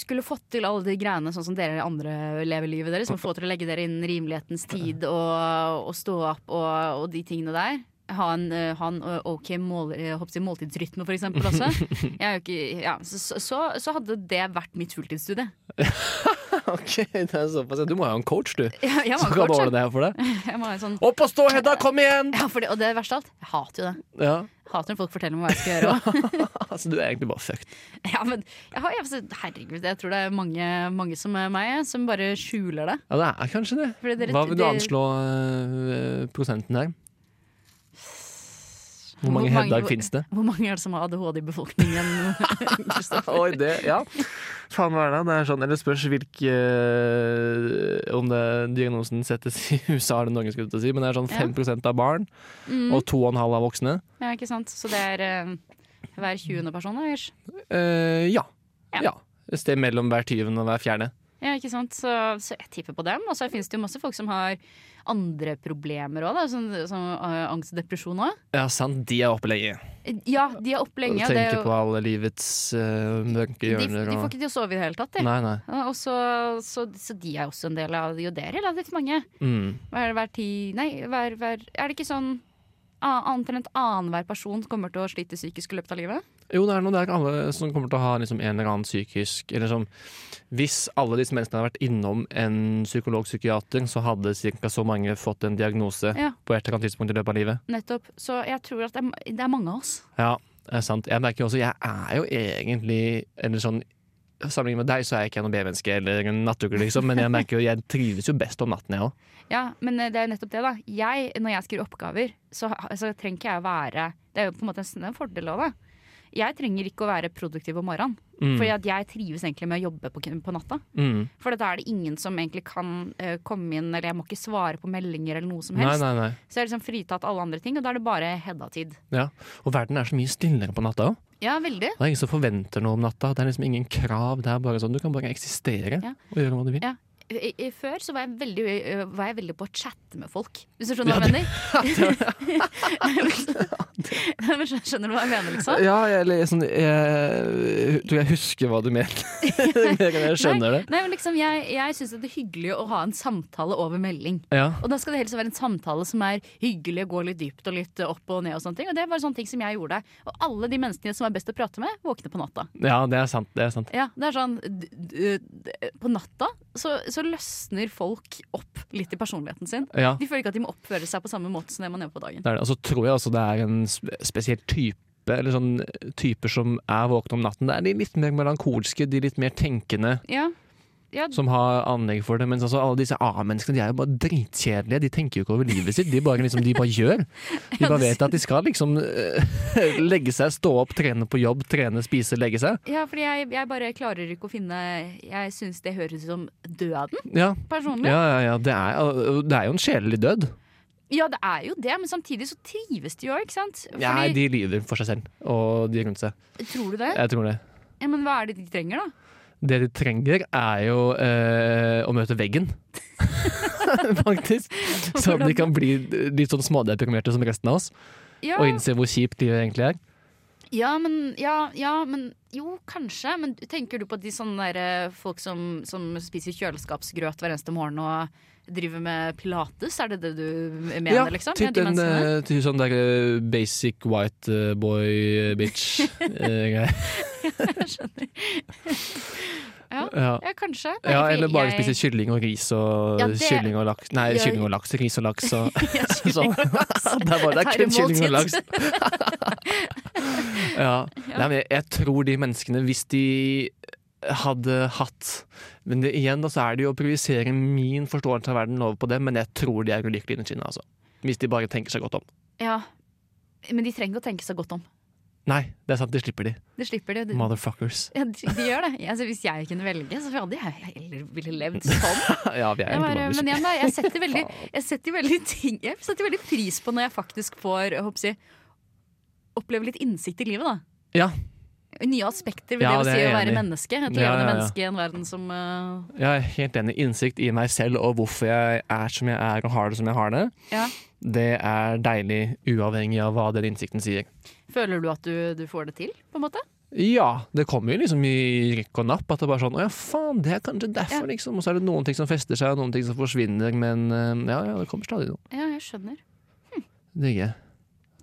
skulle fått til alle de greiene sånn som dere andre lever livet deres, som få til å legge dere innen rimelighetens tid og, og stå opp og, og de tingene der ha en, eh, ha en eh, OK mål, eh, håper jeg å si måltidsrytme, for eksempel, også. Jeg er jo ikke, ja, så, så, så hadde det vært mitt fulltidsstudie.
Ok, det er såpass. Du må ha en coach, du,
Jeg, jeg
som
var
kan
coach,
ordne det her for deg.
jeg. jeg var en sånn,
Opp og stå, Hedda! Kom igjen!
ja, fordi, og det verste av alt, jeg hater jo det.
Ja,
Hater når folk forteller meg hva jeg skal gjøre. også.
altså Du er egentlig bare fucked.
Ja, men jeg har, jeg, altså, herregud, jeg tror det er mange, mange som er meg, som bare skjuler det.
Ja, det er kanskje det.
Fordi dere-
Hva vil du
dere-
anslå eh, prosenten her? Hvor
Hvor
mange
mange-
Heddag finnes det?
Hvor mange er det som har ADHD i befolkningen? Kristoffer?
Oi, det, ja. Faen hva er det? Det er sånn, eller spørs hvilke Om det diagnosen settes i USA eller Norge, skulle jeg til å si. Men det er sånn
Ja. Mm.
5 av barn og 2,5 av voksne.
ja, ikke sant? Så det er eh, hver 20. person, da, ish.
Eh, ja.
Ja.
ja. Et sted mellom hver tyvende og hver fjerde.
Ja, ikke sant? Så, så jeg tipper på dem. Og så finnes det jo masse folk som har andre problemer òg, som, som eh, angst og depresjon òg.
Ja, sant. De er oppe lenge.
Ja, de er oppe
Og
lenge. og det er
tenker
jo-
på alle livets eh, mørke
de,
hjørner.
de får
og...
ikke til å sove i det hele tatt, de.
Nei, nei.
Ja, Og så, så, så de er også en del av jo det er relativt mange.
Mm.
Hver, hver ti Nei, hver, hver Er det ikke sånn a- annet enn et annenhver person kommer til å slite psykisk i løpet av livet?
Jo, det er noe der alle som kommer til å ha liksom en eller annen psykisk eller som, Hvis alle disse menneskene hadde vært innom en psykolog-psykiater, så hadde ca. så mange fått en diagnose
Ja.
på et eller annet tidspunkt i løpet av livet.
Nettopp. Så jeg tror at det er, det er mange av oss.
Ja, det er sant. Jeg merker jo også, jeg er jo egentlig eller sånn Sammenlignet med deg så er jeg ikke noe B-menneske eller en nattugle, liksom, men jeg merker jo, jeg trives jo best om natten, jeg òg.
Ja, men eh, det er jo nettopp det, da. Jeg, når jeg skriver oppgaver, så, ha- så trenger ikke jeg å være Det er jo på en måte en, s- det er en fordel av det. Jeg trenger ikke å være produktiv om morgenen.
Mm.
Fordi at jeg trives egentlig med å jobbe på, k- på natta.
Mm.
For da er det ingen som egentlig kan eh, komme inn, eller jeg må ikke svare på meldinger eller noe som
Nei,
helst.
nei, nei.
Så jeg er liksom fritatt alle andre ting, og da er det bare Hedda-tid.
Ja. Og verden er så mye stillere på natta òg.
Ja, veldig.
Det er ingen som forventer noe om natta. Det er liksom ingen krav. Det er bare sånn, Du kan bare eksistere
Ja.
og gjøre hva du vil.
Ja. i, i, Før så var jeg, veldig, ø, var jeg veldig på å chatte med folk, hvis du skjønner hva jeg mener? Nei, men skjø- skjønner du hva jeg mener, liksom?
Ja, jeg, eller sånn, jeg tror jeg husker hva du mener. Mer enn jeg skjønner det.
Nei, men liksom, Jeg, jeg syns det er hyggelig å ha en samtale over melding.
Ja.
Og da skal det helst være en samtale som er hyggelig, går litt dypt og litt opp og ned. Og sånne ting Og det var sånne ting som jeg gjorde. Og alle de menneskene som er best å prate med, våkner på natta.
ja, det er sant. Det er sant.
Ja, det er sånn d- d- d- På natta så, så løsner folk opp litt i personligheten sin.
Ja,
De føler ikke at de må oppføre seg på samme måte som det man gjør på dagen.
det er det. Og så tror jeg også det er en sp- spesiell type. Eller sånn typer som er våkne om natten. Det er de litt mer melankolske, de litt mer tenkende
Ja, ja
som har anlegg for det. Mens altså alle disse A-menneskene de er jo bare dritkjedelige. De tenker jo ikke over livet sitt, de bare, liksom, de bare gjør. De bare vet at de skal liksom eh, legge seg, stå opp, trene på jobb, trene, spise, legge seg.
Ja, fordi jeg, jeg bare klarer ikke å finne Jeg syns det høres ut som døden,
Ja,
personlig. Ja.
ja, ja, ja. Det, er, øh, det er jo en sjelelig død.
det er jo det, men samtidig så trives de jo, ikke sant? Fordi,
Nei, de lider for seg selv og de rundt seg.
Tror du det?
Jeg tror det.
Ja, men hva er det de trenger, da?
Det de trenger, er jo eh, å møte veggen. Faktisk. Så de kan bli litt sånn smådeprimerte som resten av oss,
Ja,
og innse hvor kjipt livet egentlig er.
ja, men, ja, ja, men Jo, kanskje. Men tenker du på de sånne der, eh, folk som, som spiser kjøleskapsgrøt hver eneste morgen og driver med pilates? Er det det du mener,
ja,
liksom?
typ
de
en
menneskene?
eh, typ sånn der eh, basic white eh, boy eh, bitch. eh, greie.
Ja.
ja.
ja, kanskje. Nei,
ja,
for
eller bare
jeg-
spise kylling og ris og
Ja, det-
kylling og laks. Nei,
Ja,
kylling og laks, ris og laks og
Ja,
Så-
kylling og laks.
Sånn. Det er bare det er
Det er
kun kylling
måltid.
og laks. ja. Nei, men jeg, jeg tror de menneskene, hvis de hadde hatt Men det, igjen da, så er det jo å projisere min forståelse av verden over på dem, men jeg tror de er ulykkelige inni kinnet, altså. Hvis de bare tenker seg godt om.
Ja, men de trenger ikke å tenke seg godt om.
Nei, det er sant, de slipper de.
Det slipper de. de
Motherfuckers.
ja, de, de gjør det. Altså, hvis jeg kunne velge, så hadde jeg heller ville levd sånn.
Ja, vi er
Jeg bare,
egentlig
men
bare
igjen, da, jeg setter veldig, jeg setter veldig, ting, jeg setter veldig pris på når jeg faktisk får jeg håper å si, oppleve litt innsikt i livet. da
Ja,
Nye aspekter ved
Ja,
det
det
å si
er
å
jeg
være
enig i.
menneske. Et
Ja,
levende
ja, ja.
menneske i en verden som eh,
jeg er helt enig. Innsikt i meg selv og hvorfor jeg er som jeg er og har det som jeg har det,
ja.
det er deilig uavhengig av hva den innsikten sier.
Føler du at du, du får det til, på en måte?
Ja, det kommer jo liksom i rykk og napp. At det bare er sånn Å ja, faen, det er kanskje derfor,
Ja.
liksom. Og så er det noen ting som fester seg, og noen ting som forsvinner, men eh, ja, ja, det kommer stadig noe.
Ja, jeg skjønner.
Digger.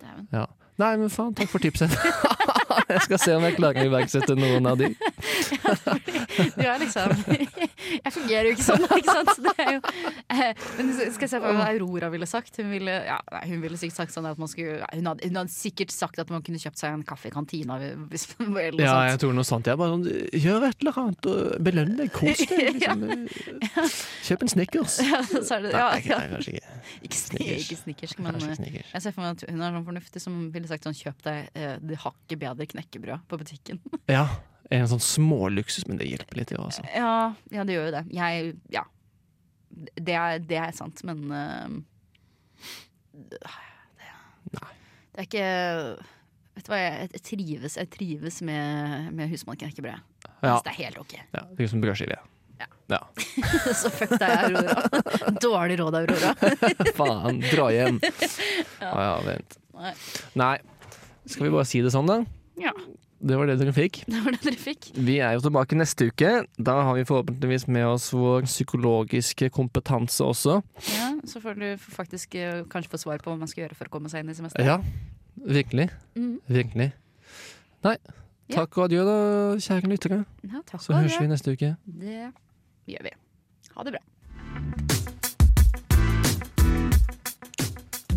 Dæven.
Ja. Nei, men faen, takk for tipset. jeg skal se om jeg klarer å iverksette noen av de.
Du er liksom Jeg fungerer jo ikke sånn, ikke sant? Det er jo, eh, men skal jeg se på hva Aurora ville sagt? Hun ville, ja, nei, hun ville sikkert sagt sånn at man skulle hun hadde, hun hadde sikkert sagt at man kunne kjøpt seg en kaffe i kantina. Hvis man, eller noe
Ja,
sånt.
jeg tror noe sånt. Jeg bare sånn Gjør et eller annet, og belønn deg, kos deg. Liksom. Kjøp en Snickers.
Ja, så er det, ja,
Nei,
ja.
nei, kanskje ikke.
Ikke, sni- ikke snickers, men
Kanskje
eh,
Snickers.
jeg ser for meg at hun er sånn fornuftig som ville sagt sånn kjøp deg eh, det hakket bedre knekkebrød på butikken.
Ja. En sånn småluksus, men det hjelper litt, det også.
Ja, ja det gjør jo det. Jeg, ja. Det er, det er sant, men eh, det,
Nei.
det er ikke Vet du hva, jeg, jeg trives, jeg trives med, med husmannsknekkebrød.
Ja.
Altså, Det er helt ok.
ja det er liksom brødskive.
Ja.
ja.
Så fuck deg, Aurora. Dårlig råd, Aurora.
Faen, dra hjem. Ja, ja, vent.
Nei.
Nei. Skal vi bare si det sånn, da?
Ja,
Det var det dere fikk.
det var det dere fikk.
Vi er jo tilbake neste uke. Da har vi forhåpentligvis med oss vår psykologiske kompetanse også.
Ja, så får du faktisk eh, kanskje få svar på hva man skal gjøre for å komme seg inn i semesteret.
Ja, virkelig.
Mhm.
Virkelig. Nei.
Ja.
Takk og adjø, da, kjære lyttere.
Ja, takk
Så
for
høres vi neste uke.
det. Det gjør vi. Ha det bra.